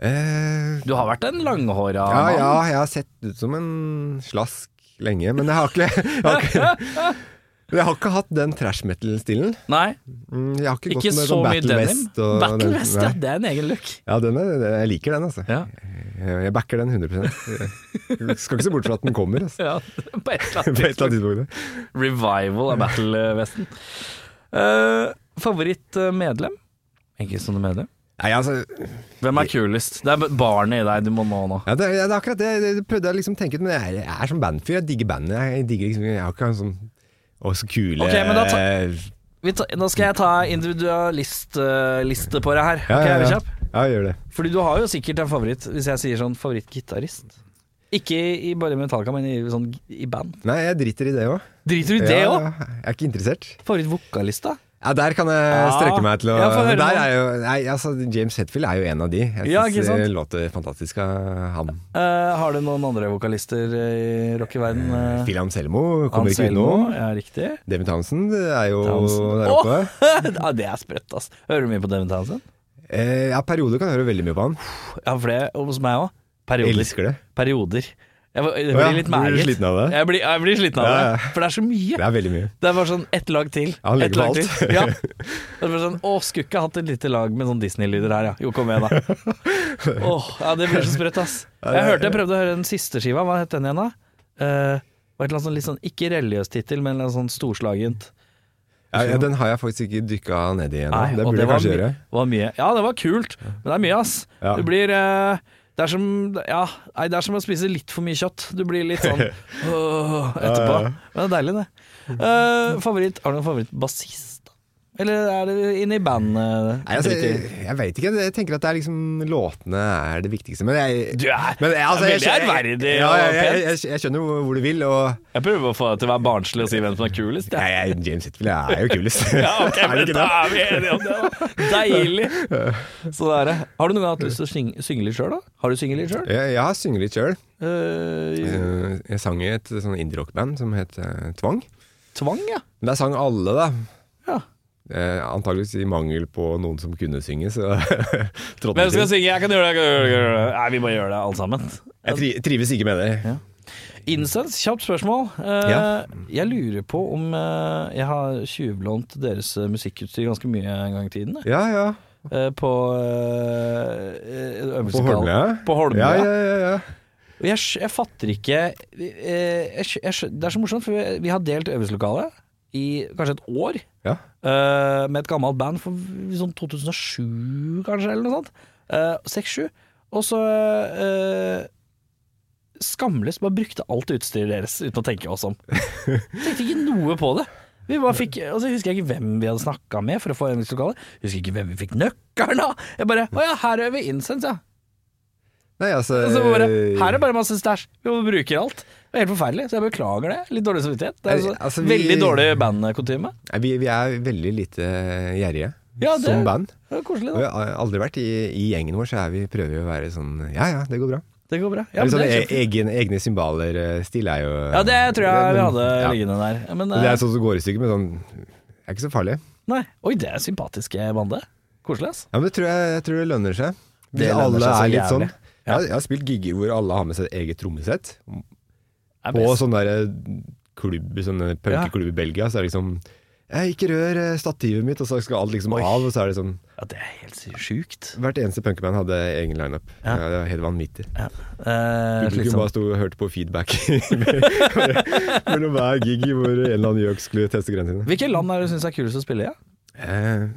Speaker 2: Eh,
Speaker 1: Du har vært en langhåra
Speaker 2: ja,
Speaker 1: mann.
Speaker 2: ja, jeg har sett ut som en slask lenge, men jeg har ikke Jeg har ikke, men jeg har ikke hatt den trash metal-stilen.
Speaker 1: Nei,
Speaker 2: Mm, Jeg har ikke,
Speaker 1: ikke
Speaker 2: gått med
Speaker 1: så
Speaker 2: sånn
Speaker 1: mye
Speaker 2: Battle
Speaker 1: denim.
Speaker 2: West. og
Speaker 1: Battle
Speaker 2: den-
Speaker 1: West,
Speaker 2: nei.
Speaker 1: ja. Det er en egen look.
Speaker 2: Ja, den er, jeg liker den, altså.
Speaker 1: Ja.
Speaker 2: Jeg, jeg backer den 100 Jeg Skal ikke se bort fra at den kommer, altså.
Speaker 1: Ja, på et eller annet
Speaker 2: På et eller annet
Speaker 1: tidspunkt.
Speaker 2: tidspunkt.
Speaker 1: Revival av Battle-vesten. Uh, Favorittmedlem? Enkeltstående medlem?
Speaker 2: Nei, altså
Speaker 1: Hvem er kulest? Det er barnet i deg du må nå nå.
Speaker 2: ja, det, er- det er akkurat det. Det det prøvde jeg liksom å tenke ut, men jeg er, jeg er som bandfyr. Jeg digger bandet. Jeg digger liksom Jeg har ikke en sånn Å, så kule
Speaker 1: Ok, men da ta-
Speaker 2: eh,
Speaker 1: Vi ta, nå skal jeg ta individualistliste på deg her.
Speaker 2: ja,
Speaker 1: Ok, er
Speaker 2: ja,
Speaker 1: du
Speaker 2: ja.
Speaker 1: kjapp?
Speaker 2: ja, gjør det.
Speaker 1: Fordi du har jo sikkert en favoritt, hvis jeg sier sånn favorittgitarist. Ikke i i bare Metallica, men i, sånn, i band.
Speaker 2: Nei, jeg driter i det òg.
Speaker 1: Driter du i det
Speaker 2: ja,
Speaker 1: òg?
Speaker 2: ja. Jeg er ikke interessert.
Speaker 1: Favorittvokalist, da?
Speaker 2: Ja, der kan jeg
Speaker 1: Ja.
Speaker 2: strekke meg til å
Speaker 1: Ah. Ja, få høre
Speaker 2: der
Speaker 1: nå.
Speaker 2: er jo, nei, altså, James Hetfield er jo en av de. Jeg
Speaker 1: Ja, ikke
Speaker 2: syns
Speaker 1: sant?
Speaker 2: det låter fantastisk av han.
Speaker 1: Eh, har du noen andre vokalister i rockeverden? Uh,
Speaker 2: Eh, Phil Anselmo kommer ikke unna.
Speaker 1: Ja, riktig.
Speaker 2: David Townsend er jo
Speaker 1: Townsend.
Speaker 2: der oppe.
Speaker 1: ja, det er sprøtt, ass. Hører du mye på Devin Townsend?
Speaker 2: Eh, ja, perioder kan jeg høre veldig mye på han.
Speaker 1: Ja, for det hos meg òg. Perioder.
Speaker 2: Elsker det.
Speaker 1: Perioder. Jeg, var- jeg
Speaker 2: Å ja,
Speaker 1: blir litt
Speaker 2: du blir
Speaker 1: mæret.
Speaker 2: sliten av det?
Speaker 1: Jeg blir, jeg blir sliten av
Speaker 2: Ja, ja.
Speaker 1: det, for det er så mye.
Speaker 2: Det er veldig mye.
Speaker 1: Det er bare sånn ett lag til.
Speaker 2: Ja, han legger
Speaker 1: ett lag
Speaker 2: på alt.
Speaker 1: til. Ja. Det er bare sånn, Å, skulle ikke hatt et lite lag med sånn Disney-lyder her, ja. Jo, kom igjen, da. Åh, ja, det blir så sprøtt, ass. Jeg hørte, jeg prøvde å høre den siste skiva, hva het den igjen, da? Eh, var et eller annet sånn litt sånn, ikke religiøs tittel, men en eller annen sånn storslagent.
Speaker 2: Ja, ja, den har jeg faktisk ikke dykka ned i ennå.
Speaker 1: Nei,
Speaker 2: Det
Speaker 1: og
Speaker 2: burde jeg
Speaker 1: var
Speaker 2: kanskje
Speaker 1: my-
Speaker 2: gjøre.
Speaker 1: Var mye. Ja, det var kult, men det er mye, ass.
Speaker 2: Ja.
Speaker 1: Det blir eh, det er, som, ja, nei, det er som å spise litt for mye kjøtt. Du blir litt sånn åh, etterpå.
Speaker 2: Ja, ja.
Speaker 1: Men det er deilig, det. Eh, favoritt, har du noen favorittbassist? Eller er det inne i eh, bandet?
Speaker 2: Nei, altså, jeg, jeg veit ikke. Jeg tenker at det er liksom låtene er det viktigste. Men jeg
Speaker 1: Du er-
Speaker 2: men, altså, jeg-
Speaker 1: det er
Speaker 2: jeg-
Speaker 1: veldig ærverdig
Speaker 2: Ja,
Speaker 1: og
Speaker 2: jeg, jeg,
Speaker 1: pent.
Speaker 2: jeg, jeg skjønner jo hvor du vil, og
Speaker 1: jeg prøver å få deg til å være barnslig og si hvem som er kulest.
Speaker 2: jeg,
Speaker 1: jeg.
Speaker 2: jeg, James Hetfield er jo kulest.
Speaker 1: Ja, ok,
Speaker 2: Er det
Speaker 1: men
Speaker 2: ikke
Speaker 1: da
Speaker 2: det?
Speaker 1: er vi enige om det, da. Deilig! Så det er det. Har du noen gang hatt lyst til å synge, synge litt sjøl, da? Har du sunget litt sjøl?
Speaker 2: Jeg, jeg har sunget litt sjøl.
Speaker 1: Eh,
Speaker 2: Jeg sang i et sånn indie-rockband som het eh, Tvang.
Speaker 1: tvang, ja.
Speaker 2: Men der sang alle, da.
Speaker 1: ja.
Speaker 2: Eh, antageligvis i mangel på noen som kunne synge, så trådte
Speaker 1: Hvem skal
Speaker 2: til.
Speaker 1: synge? Jeg kan gjøre det. jeg kan gjøre det, jeg kan gjøre det. Nei, vi må gjøre det, alle sammen.
Speaker 2: Jeg tri trives ikke med det.
Speaker 1: Incense, kjapt spørsmål. Eh,
Speaker 2: Ja.
Speaker 1: Jeg lurer på om eh, jeg har tjuvlånt deres eh, musikkutstyr ganske mye en gang i tiden. jeg.
Speaker 2: Ja, ja.
Speaker 1: Eh, på uh,
Speaker 2: På Holmlia.
Speaker 1: På Holmlia.
Speaker 2: Ja, ja, ja, ja.
Speaker 1: Og jeg, skj- jeg fatter ikke eh, jeg, skj- jeg, skj- Det er så morsomt, for vi, vi har delt øvelseslokale i kanskje et år
Speaker 2: ja.
Speaker 1: eh, med et gammelt band for v- sånn 2007, kanskje, eller noe sånt. Eh, 6-7. Og så eh, skamløst bare brukte alt utstyret deres uten å tenke oss om. Tenkte ikke noe på det. Vi bare fikk, og så husker jeg ikke hvem vi hadde snakka med for å få øvingslokalet. Husker ikke hvem vi fikk nøkkelen av. Jeg bare Å ja, her øver vi incense, ja.
Speaker 2: Nei, altså,
Speaker 1: Og så bare,
Speaker 2: eh,
Speaker 1: her er bare masse stæsj. Vi må bruke alt. Det er helt forferdelig, så jeg beklager det. Litt dårlig samvittighet. Det er
Speaker 2: Nei,
Speaker 1: så,
Speaker 2: altså, vi-
Speaker 1: Veldig dårlig bandkutyme.
Speaker 2: Nei, Vi, vi er veldig lite gjerrige
Speaker 1: Ja, det-
Speaker 2: som band.
Speaker 1: Det er Koselig, da.
Speaker 2: Og vi har aldri vært i, i gjengen vår, så er vi prøver vi å være sånn Ja ja, det går bra.
Speaker 1: Det går bra. Ja,
Speaker 2: Eller
Speaker 1: men
Speaker 2: sånn,
Speaker 1: det, er
Speaker 2: e- egen, egne cymbaler-stil er jo
Speaker 1: kjempe- ja, det tror jeg vi hadde
Speaker 2: Ja.
Speaker 1: liggende der. Men,
Speaker 2: Det
Speaker 1: eh,
Speaker 2: er sånn som går i stykker, men sånn Det er ikke så farlig.
Speaker 1: nei. Oi, det er sympatiske bande. Koselig, ass.
Speaker 2: Ja, men det tror jeg, jeg tror det lønner seg. Hvis
Speaker 1: Det lønner
Speaker 2: alle
Speaker 1: seg så
Speaker 2: er litt sånn.
Speaker 1: jævlig. Ja.
Speaker 2: Jeg, jeg har spilt gigger hvor alle har med seg eget trommesett.
Speaker 1: Det er
Speaker 2: På
Speaker 1: best.
Speaker 2: sånn derre klubb, sånn punkeklubb i Belgia, så er det liksom «Eh, Ikke rør eh, stativet mitt, og så skal alt liksom
Speaker 1: Oi.
Speaker 2: av, og så er det sånn
Speaker 1: Ja, det er helt sjukt.
Speaker 2: Hvert eneste punkeband hadde egen lineup.
Speaker 1: Ja.
Speaker 2: Ja. det var helt vanvittig.
Speaker 1: Ja. Eh,
Speaker 2: Publikum
Speaker 1: liksom.
Speaker 2: bare sto og hørte på feedback mellom hver gig hvor en eller annen gjøk skulle teste grensene.
Speaker 1: Hvilke land er det du syns er kulest å spille i? ja?
Speaker 2: Eh,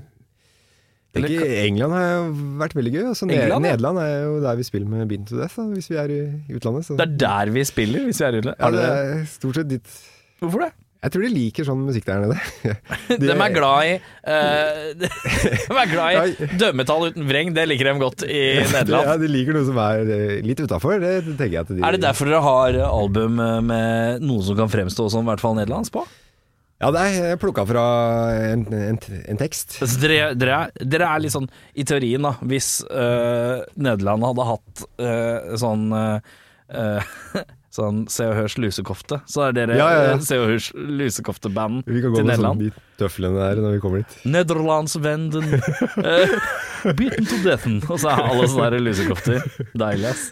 Speaker 2: det er
Speaker 1: Eller
Speaker 2: ikke, England har jo vært veldig gøy. Altså, Ned-
Speaker 1: England, ja.
Speaker 2: Nederland er jo der vi spiller med Beaten to Death, da, hvis vi er i utlandet. Så.
Speaker 1: Det er der vi spiller, hvis vi er i utlandet.
Speaker 2: ja,
Speaker 1: Har du
Speaker 2: det
Speaker 1: det?
Speaker 2: er stort sett ditt
Speaker 1: Hvorfor det?
Speaker 2: Jeg tror de liker sånn musikk der nede.
Speaker 1: De er glad i eh, De er glad i
Speaker 2: Nei.
Speaker 1: dømmetall uten vreng, det liker de godt i Nederland.
Speaker 2: Ja, de liker noe som er eh, litt utafor. Det tenker jeg at de
Speaker 1: Er det derfor dere har album eh, med noe som kan fremstå som i hvert fall nederlandsk på?
Speaker 2: Ja, det er jeg plukka fra en, en, en tekst.
Speaker 1: Altså, dere, dere, er- dere er litt sånn, i teorien da, hvis øh, Nederland hadde hatt øh, sånn øh, øh, Sånn Se og Hørs lusekofte, så er dere
Speaker 2: Ja, ja, ja.
Speaker 1: øh, Se og Hørs lusekofteband
Speaker 2: Vi kan gå
Speaker 1: til
Speaker 2: med sånn
Speaker 1: Nederland.
Speaker 2: de tøflene der når vi kommer dit.
Speaker 1: Nederlandsvenden, eh, beaten to deathen. Og så er alle sånne der lusekofter. Deilig, ass.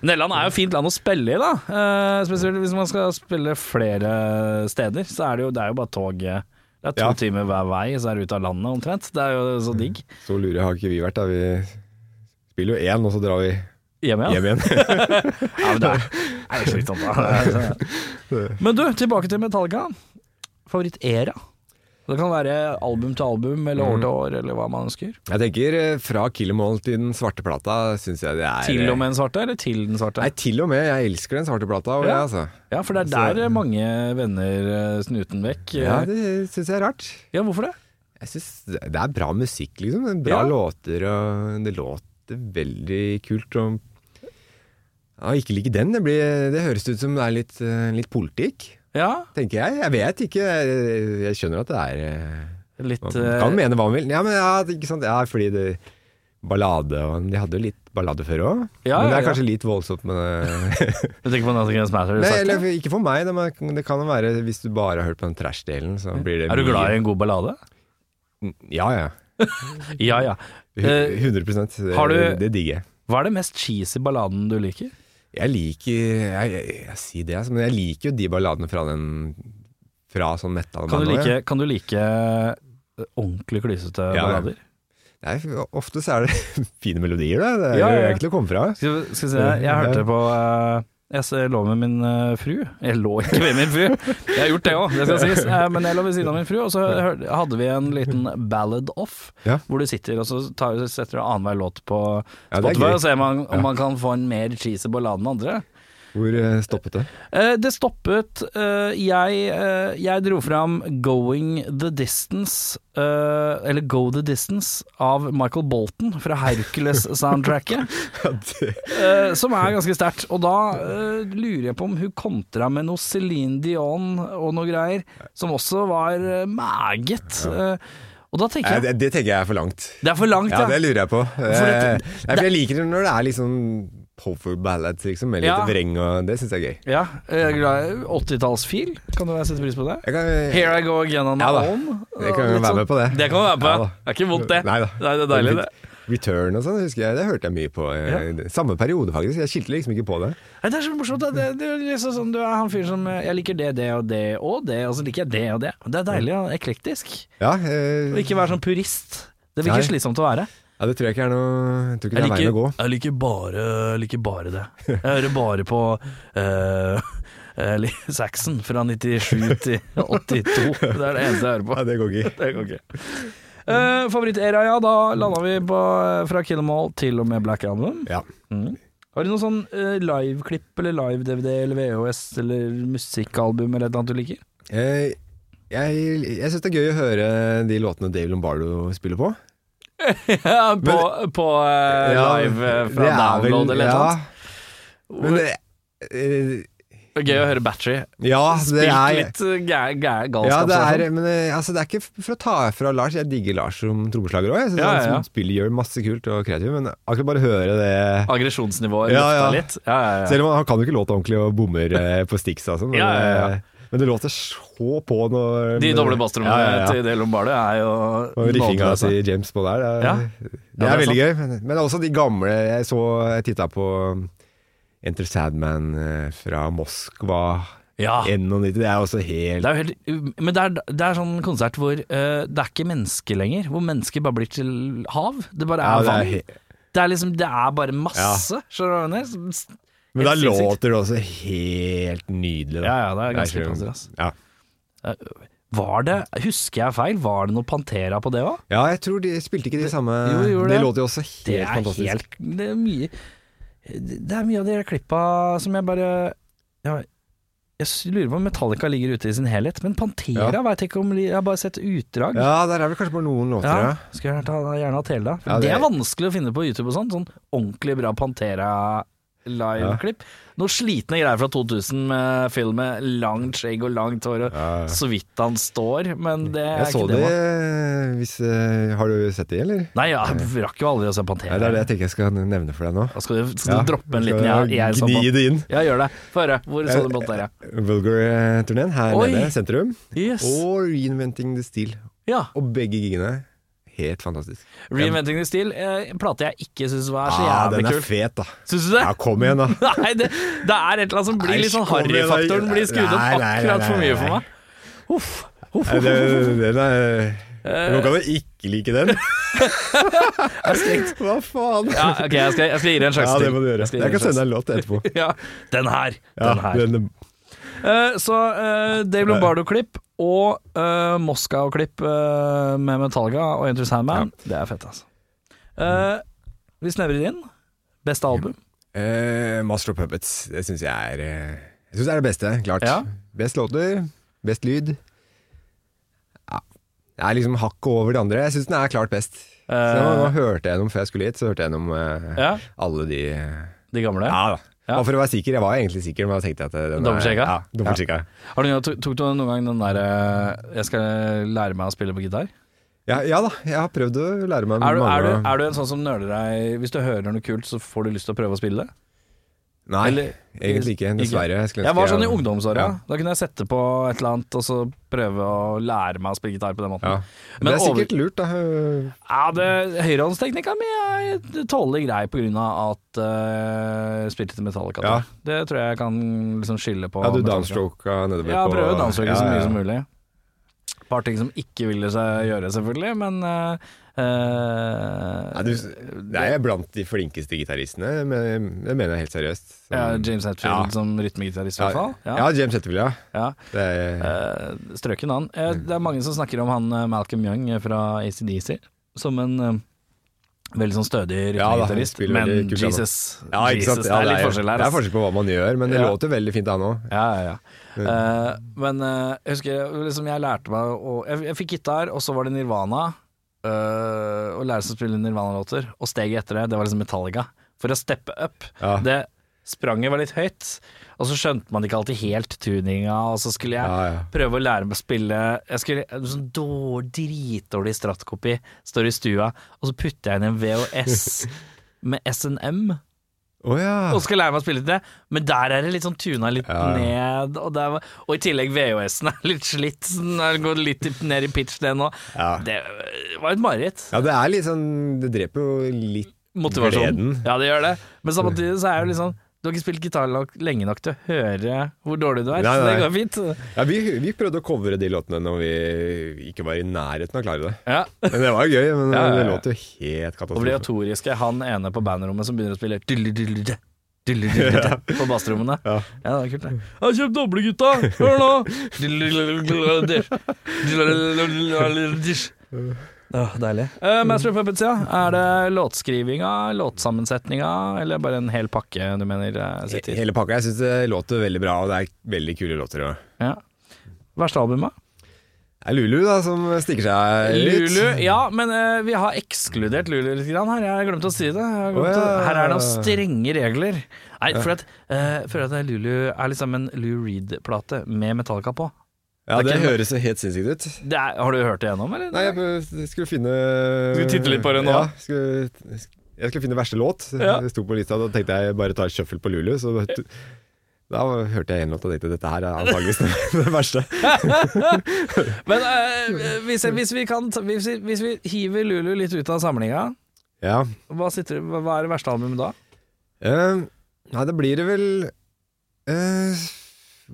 Speaker 1: Nederland er jo fint land å spille i, da. Eh, spesielt hvis man skal spille flere steder. Så er det jo, det er jo bare toget. Det er to
Speaker 2: Ja.
Speaker 1: timer hver vei, så er du ute av landet omtrent. Det er jo så digg.
Speaker 2: Så lure har ikke vi vært, da. Vi spiller jo én, og så drar vi
Speaker 1: Hjemme, ja.
Speaker 2: hjem igjen.
Speaker 1: ja men det er, det er jo slitsomt, da. Men du, tilbake til Metallica. Favoritt-era? Det kan være album til album, eller
Speaker 2: Mm.
Speaker 1: år til år, eller hva man ønsker.
Speaker 2: Jeg tenker eh, fra Kill 'Em All til den svarte plata, syns jeg det er eh,
Speaker 1: Til og med den svarte, eller til den svarte?
Speaker 2: Nei, til og med. Jeg elsker den svarte plata. Og
Speaker 1: Ja.
Speaker 2: jeg, altså.
Speaker 1: Ja, for det er der mange vender eh, snuten vekk.
Speaker 2: ja, det syns jeg er rart.
Speaker 1: Ja, hvorfor det?
Speaker 2: Jeg synes Det er bra musikk, liksom. Det er Bra
Speaker 1: Ja.
Speaker 2: låter, og det låter veldig kult. Og ja, ikke like den. Det, blir, det høres ut som det er litt, eh, litt politikk,
Speaker 1: Ja,
Speaker 2: tenker jeg. Jeg vet ikke. Jeg, jeg skjønner at det er eh,
Speaker 1: litt
Speaker 2: Man
Speaker 1: eh,
Speaker 2: kan mene hva man vil. Ja, men ja, ikke sant? ja fordi det Ballade og De hadde jo litt ballade før òg,
Speaker 1: Ja,
Speaker 2: men det
Speaker 1: ja,
Speaker 2: er
Speaker 1: ja.
Speaker 2: kanskje litt voldsomt med
Speaker 1: Du tenker på Nothing Else Matter?
Speaker 2: Nei,
Speaker 1: sagt det?
Speaker 2: eller ikke for meg, da, men det kan jo være hvis du bare har hørt på den trash-delen, så blir det
Speaker 1: Er du glad i en god ballade?
Speaker 2: Ja, ja.
Speaker 1: Ja ja.
Speaker 2: Hu-
Speaker 1: Eh,
Speaker 2: 100 det,
Speaker 1: har du-
Speaker 2: det digger jeg.
Speaker 1: Hva er det mest cheesy balladen du liker?
Speaker 2: Jeg liker jeg, jeg, jeg sier det, altså, men jeg liker jo de balladene fra den Fra sånn metal
Speaker 1: Kan du
Speaker 2: nå, ja.
Speaker 1: like, kan du like eh, ordentlig klysete
Speaker 2: Ja, ja.
Speaker 1: ballader?
Speaker 2: Nei, for ofte så er det fine melodier, da. Det
Speaker 1: Ja,
Speaker 2: er
Speaker 1: ja, ja.
Speaker 2: jo egentlig å komme fra.
Speaker 1: Skal, vi- skal vi se, jeg hørte på eh, Jeg s- lå med min eh, fru Jeg lå ikke med min fru Jeg har gjort det også, det skal sies Eh, Men jeg lå ved siden av min fru Og så hør- hadde vi en liten ballad off
Speaker 2: Ja. Nei,
Speaker 1: Hvor du sitter og så tar, setter du annen hver låt på
Speaker 2: Ja, det er
Speaker 1: Spotify
Speaker 2: gøy.
Speaker 1: Og ser man, om
Speaker 2: Ja.
Speaker 1: man kan få en mer cheesy ballade enn andre
Speaker 2: Hvor eh, stoppet det?
Speaker 1: Eh, det stoppet eh, jeg, eh, jeg dro fram 'Going the Distance', eh, eller 'Go the Distance', av Michael Bolton fra Hercules-soundtracket. eh, som er ganske sterkt. Og da eh, lurer jeg på om hun kontra med noe Céline Dion og noe greier, som også var eh, meget. Eh, og da tenker
Speaker 2: Nei,
Speaker 1: jeg
Speaker 2: det, det tenker jeg er for langt.
Speaker 1: Det er for langt,
Speaker 2: Ja, det
Speaker 1: da.
Speaker 2: lurer jeg på. Eh,
Speaker 1: at-
Speaker 2: Nei, for jeg liker det når det er litt sånn power ballads, liksom, med litt
Speaker 1: Ja.
Speaker 2: vreng og Det syns jeg er gøy.
Speaker 1: Ja, jeg er glad i 80-tallsfil. Kan du sette pris på det?
Speaker 2: Jeg kan,
Speaker 1: Here I go again on my
Speaker 2: Ja da.
Speaker 1: own.
Speaker 2: jeg kan jo
Speaker 1: Litt
Speaker 2: være
Speaker 1: sånn-
Speaker 2: med på det.
Speaker 1: Det kan du være med på.
Speaker 2: Ja da.
Speaker 1: det er ikke vondt, det.
Speaker 2: Nei da.
Speaker 1: Nei, det er deilig, det.
Speaker 2: Return og sånn, husker jeg. Det hørte jeg mye på. eh, i Samme periode, faktisk. Jeg skilte liksom ikke på det.
Speaker 1: Nei, det er så morsomt. Det, det, det er liksom sånn, du er han fyren som eh, Jeg liker det, det og det og det, og så liker jeg det og det. Det er deilig og eklektisk.
Speaker 2: Ja,
Speaker 1: Å
Speaker 2: eh,
Speaker 1: ikke være sånn purist. Det blir ikke
Speaker 2: Nei.
Speaker 1: slitsomt å være.
Speaker 2: ja det tror jeg ikke er noe jeg tror ikke det er veien å gå.
Speaker 1: jeg liker bare, jeg liker bare det. Jeg hører bare på eh, eh, li- Saxon fra 97 til 82. Det er det eneste jeg hører på.
Speaker 2: Ja, det går ikke.
Speaker 1: Det går ikke. Eh, Favorittera, ja. Da landa vi på, eh, fra Kill 'em All til og med Black Album.
Speaker 2: Ja.
Speaker 1: Har du noen sånn eh, liveklipp eller live-DVD eller VHS eller musikkalbum eller et eller annet du liker?
Speaker 2: Eh, Jeg, jeg syns det er gøy å høre de låtene Dave Lombardo spiller på.
Speaker 1: Ja, på eh,
Speaker 2: Ja,
Speaker 1: live eh,
Speaker 2: det
Speaker 1: fra
Speaker 2: er vel-
Speaker 1: download eller et eller
Speaker 2: ja,
Speaker 1: annet.
Speaker 2: Men det, eh,
Speaker 1: Gøy å høre Battery.
Speaker 2: ja, det
Speaker 1: Spilt
Speaker 2: er
Speaker 1: litt eh, gæ- gæ-
Speaker 2: ja,
Speaker 1: galskap.
Speaker 2: det er,
Speaker 1: sånn.
Speaker 2: men eh, altså, det er ikke for å ta fra Lars. Jeg digger Lars som trommeslager òg. Jeg syns
Speaker 1: Ja, ja, ja.
Speaker 2: han som spiller gjør masse kult og kreativt, men akkurat bare høre det
Speaker 1: Aggresjonsnivået
Speaker 2: Ja,
Speaker 1: løfta
Speaker 2: ja.
Speaker 1: litt. Ja, ja, ja.
Speaker 2: Selv om han kan jo ikke låta ordentlig og bommer eh, på sticks og sånn. Men,
Speaker 1: Ja, ja, ja.
Speaker 2: eh, men det låter så på når
Speaker 1: De doble basstrommene
Speaker 2: Ja, ja, ja.
Speaker 1: til Del Lombardo er jo
Speaker 2: Og altså. riffinga
Speaker 1: nådeløse.
Speaker 2: til James på der, det er,
Speaker 1: Ja.
Speaker 2: det er,
Speaker 1: Ja, det er
Speaker 2: veldig gøy. Men, men også de gamle Jeg så jeg titta på um, Enter Sadman eh, fra Moskva
Speaker 1: Ja.
Speaker 2: 91. Det er også helt
Speaker 1: Ah. Det er jo helt, men det er, det er sånn konsert hvor eh, det er ikke menneske lenger. Hvor mennesker bare blir til hav. Det bare
Speaker 2: Ja,
Speaker 1: er
Speaker 2: det er
Speaker 1: vann.
Speaker 2: he-
Speaker 1: Det er liksom, det er bare masse, skjønner du hva jeg mener? S-
Speaker 2: Men da
Speaker 1: helt sinnssykt.
Speaker 2: låter det også helt nydelig. Da.
Speaker 1: Ja, ja, det er ganske
Speaker 2: ikke-
Speaker 1: panser, ass.
Speaker 2: Ja.
Speaker 1: Var det, husker jeg feil, var det noe Pantera på det òg?
Speaker 2: ja, jeg tror de spilte ikke de samme
Speaker 1: Jo, gjorde
Speaker 2: De
Speaker 1: det.
Speaker 2: låter jo også helt
Speaker 1: Det er
Speaker 2: fantastisk.
Speaker 1: helt Det er mye Det er mye av de der klippa som jeg bare ja, Jeg s- lurer på om Metallica ligger ute i sin helhet, men Pantera
Speaker 2: Ja.
Speaker 1: veit jeg ikke om de- Jeg har bare sett utdrag.
Speaker 2: Ja, der er vel kanskje bare noen låter, ja.
Speaker 1: Ja, skulle jeg ta, gjerne hatt hele da. For
Speaker 2: Ja,
Speaker 1: det...
Speaker 2: det-
Speaker 1: er vanskelig å finne på YouTube og sånn. Sånn ordentlig bra Pantera live-klipp. Noen slitne greier fra 2000 med film med langt skjegg og langt hår, og
Speaker 2: Ja, ja.
Speaker 1: så vidt han står, men det er
Speaker 2: Jeg så
Speaker 1: ikke
Speaker 2: de
Speaker 1: det man
Speaker 2: hvis, eh, Har du sett de, eller?
Speaker 1: Nei, jeg rakk jo aldri å se Pantera.
Speaker 2: Nei, det er det jeg tenker jeg skal nevne for deg nå.
Speaker 1: Da skal du, skal
Speaker 2: Ja.
Speaker 1: du droppe en liten
Speaker 2: Skal
Speaker 1: jeg, jeg så
Speaker 2: Gni
Speaker 1: på.
Speaker 2: det inn.
Speaker 1: Ja, gjør det. Få høre. Hvor så du
Speaker 2: Eh,
Speaker 1: Pantera?
Speaker 2: Vulgar-turneen her
Speaker 1: Oi.
Speaker 2: nede, sentrum.
Speaker 1: Yes.
Speaker 2: Og Reinventing the Steel.
Speaker 1: Ja.
Speaker 2: Og begge gigene. Helt fantastisk.
Speaker 1: Reinventing the Steel, eh, plate jeg ikke syns var så
Speaker 2: Ja, Ah, den
Speaker 1: jævlig
Speaker 2: er
Speaker 1: kul.
Speaker 2: fet, da.
Speaker 1: Syns du det?
Speaker 2: Ja, kom igjen, da.
Speaker 1: Nei, det, det er et eller annet som blir litt sånn harryfaktoren blir skrudd opp
Speaker 2: Nei, nei, nei,
Speaker 1: akkurat for mye
Speaker 2: nei,
Speaker 1: for
Speaker 2: nei.
Speaker 1: meg. Uff. Uff.
Speaker 2: Nei, det- Den er
Speaker 1: Eh.
Speaker 2: Nå kan du ikke like den. Hva faen?
Speaker 1: Ja, ok, jeg skal, jeg skal gi deg en sjanse
Speaker 2: Ja,
Speaker 1: til.
Speaker 2: det må du gjøre.
Speaker 1: Jeg skal gi
Speaker 2: Jeg
Speaker 1: deg
Speaker 2: kan
Speaker 1: en
Speaker 2: sende deg
Speaker 1: sjanse.
Speaker 2: en låt etterpå.
Speaker 1: Ja, den her.
Speaker 2: Ja,
Speaker 1: Den her.
Speaker 2: den-
Speaker 1: Eh, så eh, Dave Lombardo-klipp og eh, Moskau-klipp eh, med Metallica og Enter Sandman, det er fett, altså. Eh, vi snevrer inn. Beste album.
Speaker 2: Eh, Master of Puppets, det syns jeg er eh, Jeg synes det er det beste, klart.
Speaker 1: Ja.
Speaker 2: Best låter, best lyd. Ja. Det er liksom hakket over de andre. Jeg syns den er klart best. Så nå, nå
Speaker 1: Eh,
Speaker 2: hørte jeg gjennom før jeg skulle hit, så hørte jeg gjennom eh,
Speaker 1: ja,
Speaker 2: alle de eh,
Speaker 1: de gamle.
Speaker 2: Ja da.
Speaker 1: Ja.
Speaker 2: Bare for å være sikker. Jeg var egentlig sikker, men da tenkte jeg at eh, den er-
Speaker 1: Dobbeltsjekka?
Speaker 2: Ja, dobbeltsjekka.
Speaker 1: Har du, noen- tok- tok du noen gang den derre 'jeg skal lære meg å spille på gitar'?
Speaker 2: Ja, ja da, jeg har prøvd å lære meg
Speaker 1: Er du,
Speaker 2: mange
Speaker 1: er, du, er du en sånn som nøler deg Hvis du hører noe kult, så får du lyst til å prøve å spille det?
Speaker 2: Nei,
Speaker 1: Eller-
Speaker 2: egentlig ikke. Dessverre. Jeg, skulle
Speaker 1: Jeg var
Speaker 2: ønske
Speaker 1: sånn i ungdomsåra. Da kunne jeg sette på et eller annet og så prøve å lære meg å spille gitar på den måten.
Speaker 2: Ja. Men,
Speaker 1: Men
Speaker 2: det er
Speaker 1: over-
Speaker 2: sikkert lurt, da.
Speaker 1: Ja, det Høyrehåndsteknikka mi er tålelig grei på grunn av at eh, jeg spilte til Metallica.
Speaker 2: Ja.
Speaker 1: Det tror jeg jeg kan liksom skylde på.
Speaker 2: Ja, du
Speaker 1: Metallica.
Speaker 2: downstroka nedover
Speaker 1: Ja,
Speaker 2: på
Speaker 1: prøve å downstroke så
Speaker 2: Ja, ja,
Speaker 1: mye
Speaker 2: ja.
Speaker 1: som mulig. Et par ting som ikke ville seg gjøre, selvfølgelig, men eh, eh,
Speaker 2: Nei, du, nei, jeg er blant de flinkeste gitaristene, men det mener jeg helt seriøst. Som-
Speaker 1: ja, James Hetfield
Speaker 2: Ja.
Speaker 1: som rytmegitarist, i
Speaker 2: ja,
Speaker 1: hvert fall.
Speaker 2: ja, James Hetfield, ja. Mm.
Speaker 1: ja.
Speaker 2: Det er,
Speaker 1: Eh, strøken han. Eh, det er mange som snakker om han eh, Malcolm Young eh, fra ACDC som en eh, veldig sånn stødig
Speaker 2: Ja, da, han
Speaker 1: rytmegitarist,
Speaker 2: spiller
Speaker 1: men
Speaker 2: veldig kult, han.
Speaker 1: Jesus,
Speaker 2: ja, ikke sant?
Speaker 1: Jesus det
Speaker 2: Ja,
Speaker 1: er litt forskjell her.
Speaker 2: Det er
Speaker 1: ass.
Speaker 2: forskjell på hva man gjør, men det
Speaker 1: Ja.
Speaker 2: låter veldig fint, han òg.
Speaker 1: Ja, ja, ja. Eh, men eh, jeg husker jeg- liksom, jeg lærte meg å jeg, jeg fikk gitar, og så var det Nirvana. eh, å lære seg å spille Nirvana-låter. Og steget etter det, det var liksom Metallica. For å steppe up.
Speaker 2: Ja.
Speaker 1: Det spranget var litt høyt, og så skjønte man ikke alltid helt tuninga, og så skulle jeg
Speaker 2: Ja, ja.
Speaker 1: prøve å lære meg å spille Jeg skulle en sånn dår, dritdårlig strattkopi, står i stua, og så putter jeg inn en VHS med SNM
Speaker 2: Å ja.
Speaker 1: og skal lære meg å spille til det, men der er det litt sånn tuna litt
Speaker 2: Ja, ja.
Speaker 1: ned, og, der, var- og i tillegg VHS-en er litt slitt, så den går litt i- ned i pitch det nå.
Speaker 2: Ja.
Speaker 1: Det var et mareritt.
Speaker 2: ja, det er litt sånn Det dreper jo litt
Speaker 1: Motivasjonen.
Speaker 2: Gleden. Mm.
Speaker 1: Ja, det gjør det. Men samtidig så er det jo liksom du har ikke spilt gitar nok, lenge nok til å høre hvor dårlig du er,
Speaker 2: Nei,
Speaker 1: så det
Speaker 2: nei.
Speaker 1: går fint.
Speaker 2: Ja, vi, vi prøvde å covre de låtene når vi ikke var i nærheten av å klare det.
Speaker 1: Ja.
Speaker 2: Men det var jo gøy, men
Speaker 1: Ja, ja, ja.
Speaker 2: det låter jo helt katastrofe.
Speaker 1: Obligatoriske han ene på bandrommet som begynner å spille dulledulledde, dulledulledde på bassrommene.
Speaker 2: Ja.
Speaker 1: Ja, det er kult, det. Jeg har kjøpt doble, gutta! Hør nå! Åh, deilig. Eh, Master of Puppets, ja. Er det låtskrivinga, låtsammensetninga, eller bare en hel pakke du mener eh,
Speaker 2: He-
Speaker 1: sitter?
Speaker 2: Hele pakka. Jeg syns det låter veldig bra, og det er veldig kule låter òg.
Speaker 1: Ja. Verste albumet?
Speaker 2: Det er Lulu da, som stikker seg litt.
Speaker 1: Lulu, ja, men eh, vi har ekskludert Lulu litt grann her. Jeg glemte å si det. Jeg har glemt
Speaker 2: Å, ja.
Speaker 1: å, her er det noen strenge regler. Nei, for at, eh, for at Lulu er liksom en Lou Reed-plate med Metallica på.
Speaker 2: Ja,
Speaker 1: Det er
Speaker 2: det
Speaker 1: ikke-
Speaker 2: høres jo helt sinnssykt ut.
Speaker 1: Det er, har du hørt det gjennom, eller?
Speaker 2: Nei, jeg bø- skulle finne
Speaker 1: Skal vi titte litt på det nå?
Speaker 2: Ja, skulle, jeg skulle finne verste låt.
Speaker 1: Ja.
Speaker 2: Jeg sto på lista, da tenkte jeg bare ta et shuffle på Lulu. Så da hørte jeg en låt og tenkte dette her er antakeligvis det verste.
Speaker 1: Men eh, hvis, jeg, hvis, vi kan, ta- hvis, vi, hvis vi hiver Lulu litt ut av samlinga,
Speaker 2: Ja.
Speaker 1: hva, sitter, hva hva er det verste albumet da?
Speaker 2: Eh, nei, da blir det vel eh,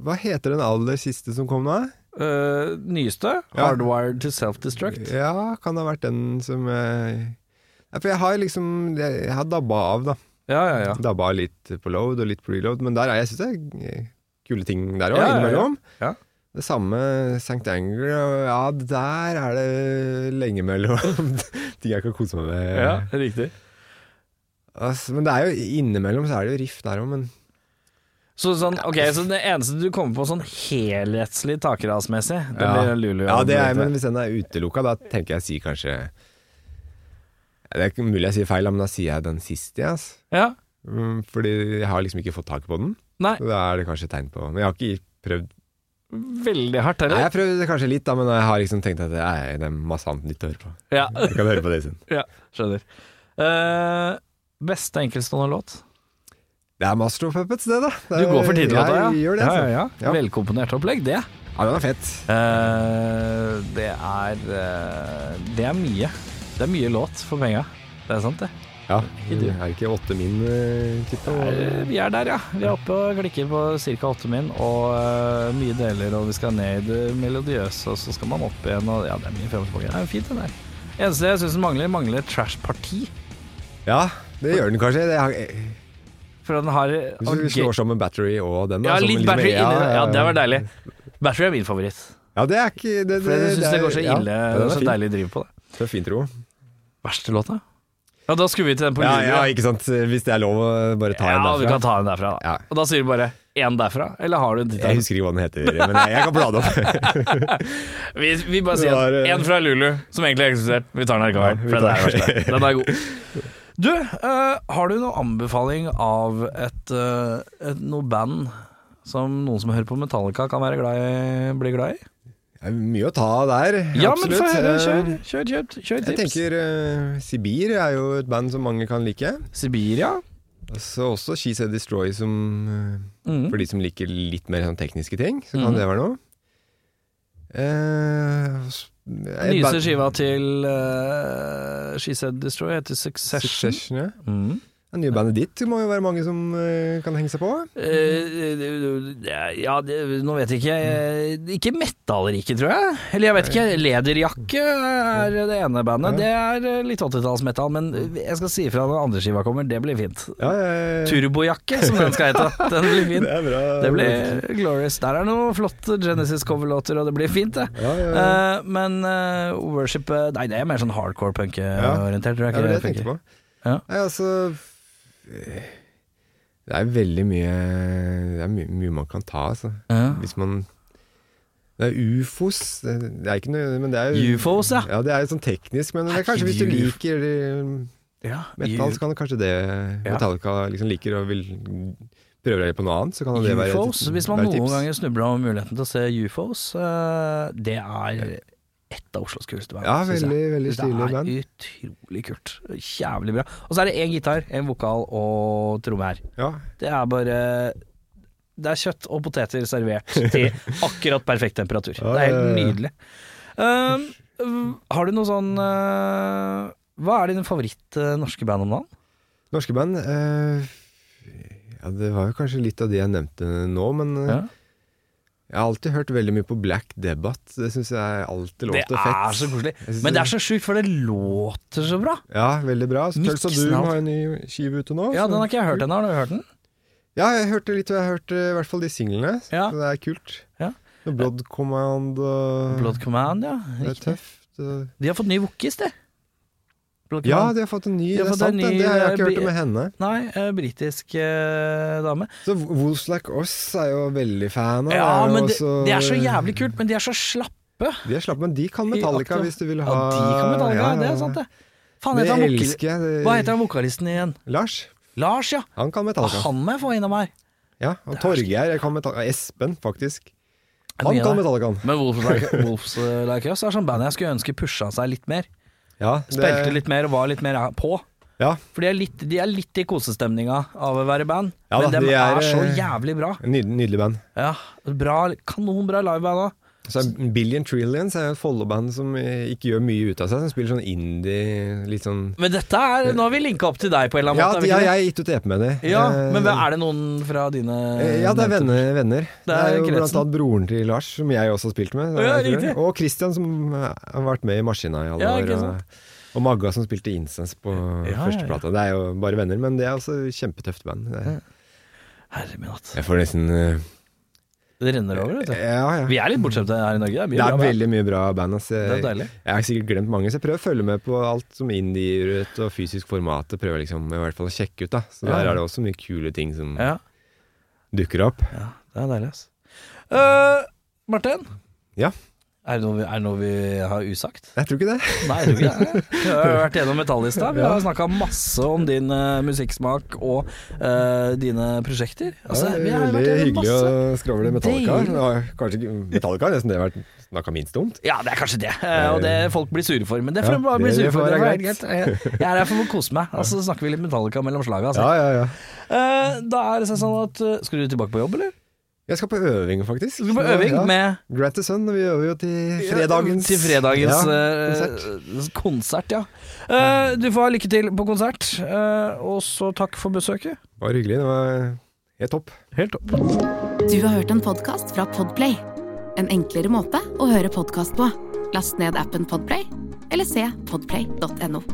Speaker 2: Hva heter den aller siste som kom nå?
Speaker 1: Eh, nyeste?
Speaker 2: Ja.
Speaker 1: Hardwired to Self-Destruct?
Speaker 2: Ja, kan det ha vært den som eh, Nei, For jeg har liksom Jeg, jeg har dabba av, da.
Speaker 1: Ja, ja, ja.
Speaker 2: Dabba av litt på load og litt på reload, men der er jeg, syns det er eh, kule ting der
Speaker 1: Ja,
Speaker 2: òg,
Speaker 1: ja, ja.
Speaker 2: innimellom.
Speaker 1: Ja.
Speaker 2: Det samme St. Anger og Ja, der er det lenge mellom ting jeg kan kose meg med.
Speaker 1: ja riktig.
Speaker 2: Altså, men det er jo innimellom så er det jo riff der òg, men
Speaker 1: Så, sånn, ok, så det eneste du kommer på sånn helhetslig takrasmessig, det
Speaker 2: Ja.
Speaker 1: blir Lulu.
Speaker 2: Ja, det er, men hvis den er utelukka, da tenker jeg å si kanskje Ja, Det er ikke mulig jeg sier feil, da, men da sier jeg den siste, jeg. ass.
Speaker 1: Ja.
Speaker 2: Mm, Fordi jeg har liksom ikke fått tak på den.
Speaker 1: Nei.
Speaker 2: Så Da er det kanskje et tegn på Men jeg har ikke prøvd
Speaker 1: Veldig hardt,
Speaker 2: Nei,
Speaker 1: eller?
Speaker 2: jeg prøvde kanskje litt, da, men jeg har liksom tenkt at nei, det er masse annet nytt å høre på.
Speaker 1: Ja,
Speaker 2: Jeg kan høre på det sen.
Speaker 1: ja skjønner. Eh, beste enkeltstående låt?
Speaker 2: Det er Master of Puppets, det, da. Det
Speaker 1: Du
Speaker 2: er-
Speaker 1: går for titellåta, ja?
Speaker 2: Eh, Jeg gjør det.
Speaker 1: ja, ja,
Speaker 2: altså.
Speaker 1: ja.
Speaker 2: Ja.
Speaker 1: Velkomponert opplegg, det.
Speaker 2: Ja, den er fett.
Speaker 1: Eh, det er eh, Det er mye. Det er mye låt for penga. Det er sant, det.
Speaker 2: Ja, det er ikke åtte min eh, type.
Speaker 1: Eh, Vi er der, ja. Vi er oppe og klikker på ca. åtte min, og eh, mye deler, og vi skal ned i det melodiøse, og så skal man opp igjen, og ja, det er mye frem og tilbake. Det er jo fint, det der. Eneste jeg syns mangler, mangler trash-parti.
Speaker 2: Ja, det gjør den kanskje. Det er,
Speaker 1: For den har
Speaker 2: hvis vi slår sammen Battery og den, da.
Speaker 1: Ja,
Speaker 2: som
Speaker 1: litt
Speaker 2: liksom-
Speaker 1: battery inni der. Ja, det var
Speaker 2: ja.
Speaker 1: deilig. Battery er min favoritt.
Speaker 2: Ja, det er ikke det,
Speaker 1: For jeg syns
Speaker 2: er-
Speaker 1: det går så
Speaker 2: ja,
Speaker 1: ille.
Speaker 2: ja,
Speaker 1: det er
Speaker 2: den er
Speaker 1: så
Speaker 2: fin.
Speaker 1: deilig driv på det.
Speaker 2: Det er fin tro.
Speaker 1: Verste låta? Ja, da skulle vi til den på
Speaker 2: Ja,
Speaker 1: Lulu.
Speaker 2: ja, ikke sant. Hvis det er lov å bare ta en
Speaker 1: Ja, vi kan
Speaker 2: derfra.
Speaker 1: ta den derfra, da.
Speaker 2: Ja.
Speaker 1: Og da sier du bare én derfra, eller har du en
Speaker 2: Jeg
Speaker 1: tittel?
Speaker 2: husker ikke hva den heter, men jeg, jeg kan bla det opp.
Speaker 1: Vi, vi bare
Speaker 2: Det var,
Speaker 1: sier
Speaker 2: eh,
Speaker 1: én fra Lulu, som egentlig har eksistert. Vi tar den likevel,
Speaker 2: Ja, vi
Speaker 1: for den er
Speaker 2: tar den.
Speaker 1: verst. Den er god. Du, eh, har du noen anbefaling av et, eh, et noe band som noen som hører på Metallica kan være glad i, bli glad i?
Speaker 2: Det er mye å ta der.
Speaker 1: Ja, men få
Speaker 2: absolutt.
Speaker 1: høre. Kjør,
Speaker 2: Eh,
Speaker 1: kjør, kjør, kjør
Speaker 2: Jeg
Speaker 1: tips.
Speaker 2: tenker eh, Sibir er jo et band som mange kan like.
Speaker 1: Sibiria?
Speaker 2: Så også She Said Destroy, som, eh,
Speaker 1: Mm.
Speaker 2: for de som liker litt mer sånn tekniske ting, så kan det være noe. Eh, s- eh,
Speaker 1: Nyeste
Speaker 2: band-
Speaker 1: skiva til eh, She Said Destroy heter Succession.
Speaker 2: Succession, ja.
Speaker 1: Mm.
Speaker 2: Det nye bandet ditt må jo være mange som eh, kan henge seg på.
Speaker 1: Eh, ja, det, nå vet jeg ikke Eh, Ikke metallrike, tror jeg. Eller jeg vet ikke. Lederjakke er det ene bandet. Det er eh, litt 80-tallsmetall, men jeg skal si ifra når andre skiva kommer. Det blir fint.
Speaker 2: Ja, eh,
Speaker 1: Turbojakke, som den skal hete. Den blir fin.
Speaker 2: Det er bra.
Speaker 1: Det blir glorious. Der er noen flotte Genesis-coverlåter, og det blir fint, det.
Speaker 2: Ja, ja, ja.
Speaker 1: Eh, men eh, worship eh, Nei, det er mer sånn hardcore punk-orientert, tror jeg.
Speaker 2: det
Speaker 1: ikke
Speaker 2: var det jeg
Speaker 1: funker.
Speaker 2: tenkte på.
Speaker 1: Ja.
Speaker 2: Nei, altså eh, Det er veldig mye Det er mye, mye man kan ta, altså.
Speaker 1: Ja.
Speaker 2: Hvis man Det er ufos. Det det er ikke noe Men det er
Speaker 1: UFOs, ja.
Speaker 2: Ja, det er jo sånn teknisk, men det er kanskje hvis du
Speaker 1: Herregud.
Speaker 2: liker eh,
Speaker 1: ja.
Speaker 2: metal, så kan det kanskje det
Speaker 1: Ja.
Speaker 2: Metallica liksom liker og vil prøve deg på noe annet, så kan det være et-
Speaker 1: UFOs, hvis man
Speaker 2: være et
Speaker 1: noen
Speaker 2: tips.
Speaker 1: ganger snubler over muligheten til å se UFOs, eh, det er ett av Oslos kuleste band.
Speaker 2: Ja,
Speaker 1: synes jeg.
Speaker 2: veldig, veldig stilig band.
Speaker 1: Det er utrolig kult. Jævlig bra. Og så er det én gitar, én vokal og tromme her.
Speaker 2: Ja.
Speaker 1: Det er bare Det er kjøtt og poteter servert til akkurat perfekt temperatur.
Speaker 2: Ja,
Speaker 1: Det er
Speaker 2: ja,
Speaker 1: helt
Speaker 2: ja.
Speaker 1: nydelig. Um, um, har du noe sånn uh, Hva er dine favoritt-norske band om dagen?
Speaker 2: Norske band eh, Ja, det var jo kanskje litt av det jeg nevnte nå, men eh,
Speaker 1: Ja.
Speaker 2: Jeg har alltid hørt veldig mye på Black Debate. Det syns jeg alltid
Speaker 1: Det
Speaker 2: låter fett.
Speaker 1: er så koselig.
Speaker 2: Jeg synes
Speaker 1: Men det er så sjukt, for det låter så bra.
Speaker 2: Ja, veldig bra. Så Tøls og
Speaker 1: Miksen
Speaker 2: Doom
Speaker 1: av-
Speaker 2: har en ny skive ute nå.
Speaker 1: Ja,
Speaker 2: så-
Speaker 1: Den har ikke jeg hørt ennå. Har du hørt den?
Speaker 2: Ja, jeg hørte litt, og jeg hørte i hvert fall de singlene.
Speaker 1: Ja.
Speaker 2: Så det er kult.
Speaker 1: Ja.
Speaker 2: Og Blood Command og
Speaker 1: Blood Command, ja.
Speaker 2: Mm. Det er tøft. og-
Speaker 1: De har fått ny vokis, de. Blood
Speaker 2: Ja,
Speaker 1: Command.
Speaker 2: de har fått en ny,
Speaker 1: De har
Speaker 2: det er
Speaker 1: fått en
Speaker 2: sant.
Speaker 1: ny,
Speaker 2: det. det har jeg ikke
Speaker 1: eh,
Speaker 2: hørt
Speaker 1: bi-
Speaker 2: det med henne.
Speaker 1: Nei, eh, britisk eh, dame.
Speaker 2: Så Wolves Like Us er jo veldig fan av.
Speaker 1: Ja,
Speaker 2: er jo
Speaker 1: men det,
Speaker 2: også-
Speaker 1: det er så jævlig kult, men de er så slappe.
Speaker 2: De er slappe, men de kan Metallica
Speaker 1: I-
Speaker 2: hvis du vil
Speaker 1: Ja,
Speaker 2: ha
Speaker 1: de kan Metallica,
Speaker 2: Ja, ja,
Speaker 1: det
Speaker 2: ja.
Speaker 1: er sant, det. Faen,
Speaker 2: Det
Speaker 1: heter han
Speaker 2: elsker
Speaker 1: vokal...
Speaker 2: jeg. det-
Speaker 1: Hva heter han vokalisten igjen?
Speaker 2: Lars.
Speaker 1: Lars, ja.
Speaker 2: Han kan
Speaker 1: Ah,
Speaker 2: Metallica.
Speaker 1: Han må jeg få innom her.
Speaker 2: Ja, og Torgeir jeg kan Metallica. Espen, faktisk.
Speaker 1: Det er
Speaker 2: Han
Speaker 1: mye
Speaker 2: kan
Speaker 1: der.
Speaker 2: Metallica.
Speaker 1: Men Wolves Like, Wolves like Us er sånn band jeg skulle ønske pusha seg litt mer.
Speaker 2: Ja, det-
Speaker 1: Spilte litt mer og var litt mer på.
Speaker 2: Ja.
Speaker 1: For de er litt, de er litt i kosestemninga av å være band,
Speaker 2: Ja
Speaker 1: men
Speaker 2: da,
Speaker 1: de
Speaker 2: de
Speaker 1: er,
Speaker 2: er,
Speaker 1: så
Speaker 2: eh,
Speaker 1: jævlig bra.
Speaker 2: Nydelig, nydelig band.
Speaker 1: Ja, bra, Kanonbra liveband òg.
Speaker 2: Så er Billion Trillions er jo et Follo-band som eh, ikke gjør mye ut av seg. Som spiller sånn indie, litt sånn
Speaker 1: Men dette er Nå har vi linka opp til deg på en eller annen
Speaker 2: Ja,
Speaker 1: måte.
Speaker 2: de har
Speaker 1: ja,
Speaker 2: jeg gitt ut EP med, de.
Speaker 1: ja,
Speaker 2: Eh,
Speaker 1: Men er det noen fra dine
Speaker 2: eh, ja, det er venner. venner. Det, er jo blant
Speaker 1: kretsen.
Speaker 2: annet broren til Lars, som jeg også har spilt med.
Speaker 1: Ja,
Speaker 2: tror jeg.
Speaker 1: riktig.
Speaker 2: og Christian, som eh, har vært med i Maskina i alle
Speaker 1: Ja,
Speaker 2: år.
Speaker 1: ikke sant.
Speaker 2: Og, og Magga, som spilte Incense på
Speaker 1: ja, ja.
Speaker 2: første plata. Det er jo bare venner, men det er også kjempetøft band. Det.
Speaker 1: Herre min hatt.
Speaker 2: Jeg får nesten eh,
Speaker 1: Det renner over, vet du.
Speaker 2: Ja, ja.
Speaker 1: Vi er litt bortskjemte her i Norge. Det er, mye
Speaker 2: Det er
Speaker 1: bra band.
Speaker 2: veldig eh, mye bra band. ass.
Speaker 1: Det er deilig.
Speaker 2: Jeg har sikkert glemt mange, så jeg prøver å følge med på alt som indier ut og fysisk format. og Prøver liksom i hvert fall å sjekke ut, da. Så
Speaker 1: Ja.
Speaker 2: der er det også mye kule ting som
Speaker 1: Ja,
Speaker 2: dukker opp.
Speaker 1: det er deilig, ass. Eh, Martin?
Speaker 2: Ja.
Speaker 1: Er det, noe vi, er det noe vi har usagt?
Speaker 2: Jeg tror ikke det.
Speaker 1: Nei, jeg tror ikke det. Vi har jo vært gjennom Metallista. Vi har snakka masse om din eh, musikksmak og eh, dine prosjekter. Altså,
Speaker 2: det
Speaker 1: vi
Speaker 2: er
Speaker 1: har vært
Speaker 2: veldig
Speaker 1: gjennom
Speaker 2: hyggelig
Speaker 1: masse.
Speaker 2: å skravle Metallica.
Speaker 1: Deilig.
Speaker 2: Det var Kanskje ikke Metallica, nesten det har vært snakka minst om.
Speaker 1: Ja, det er kanskje det. Eh, Og det folk blir sure for. Men det får
Speaker 2: Ja,
Speaker 1: de bare bli
Speaker 2: det-
Speaker 1: sure
Speaker 2: det
Speaker 1: for.
Speaker 2: får
Speaker 1: Det
Speaker 2: være
Speaker 1: er greit. Eh, Jeg er her for å kose meg. Altså, så snakker vi litt Metallica mellom slaga. Altså.
Speaker 2: Ja, ja, ja.
Speaker 1: Eh, Da er det sånn at eh, Skal du tilbake på jobb, eller?
Speaker 2: Jeg skal på øving, faktisk.
Speaker 1: Skal du på øving
Speaker 2: ja.
Speaker 1: med
Speaker 2: Grant the Sun. Vi øver jo til fredagens
Speaker 1: Til fredagens
Speaker 2: ja,
Speaker 1: eh,
Speaker 2: konsert.
Speaker 1: konsert. ja. Eh, Du får ha lykke til på konsert, eh, og så takk for besøket.
Speaker 2: Det var hyggelig. Det var helt topp.
Speaker 1: Helt topp.
Speaker 4: Du har hørt en podkast fra Podplay. En enklere måte å høre podkast på. Last ned appen Podplay, eller se podplay.no.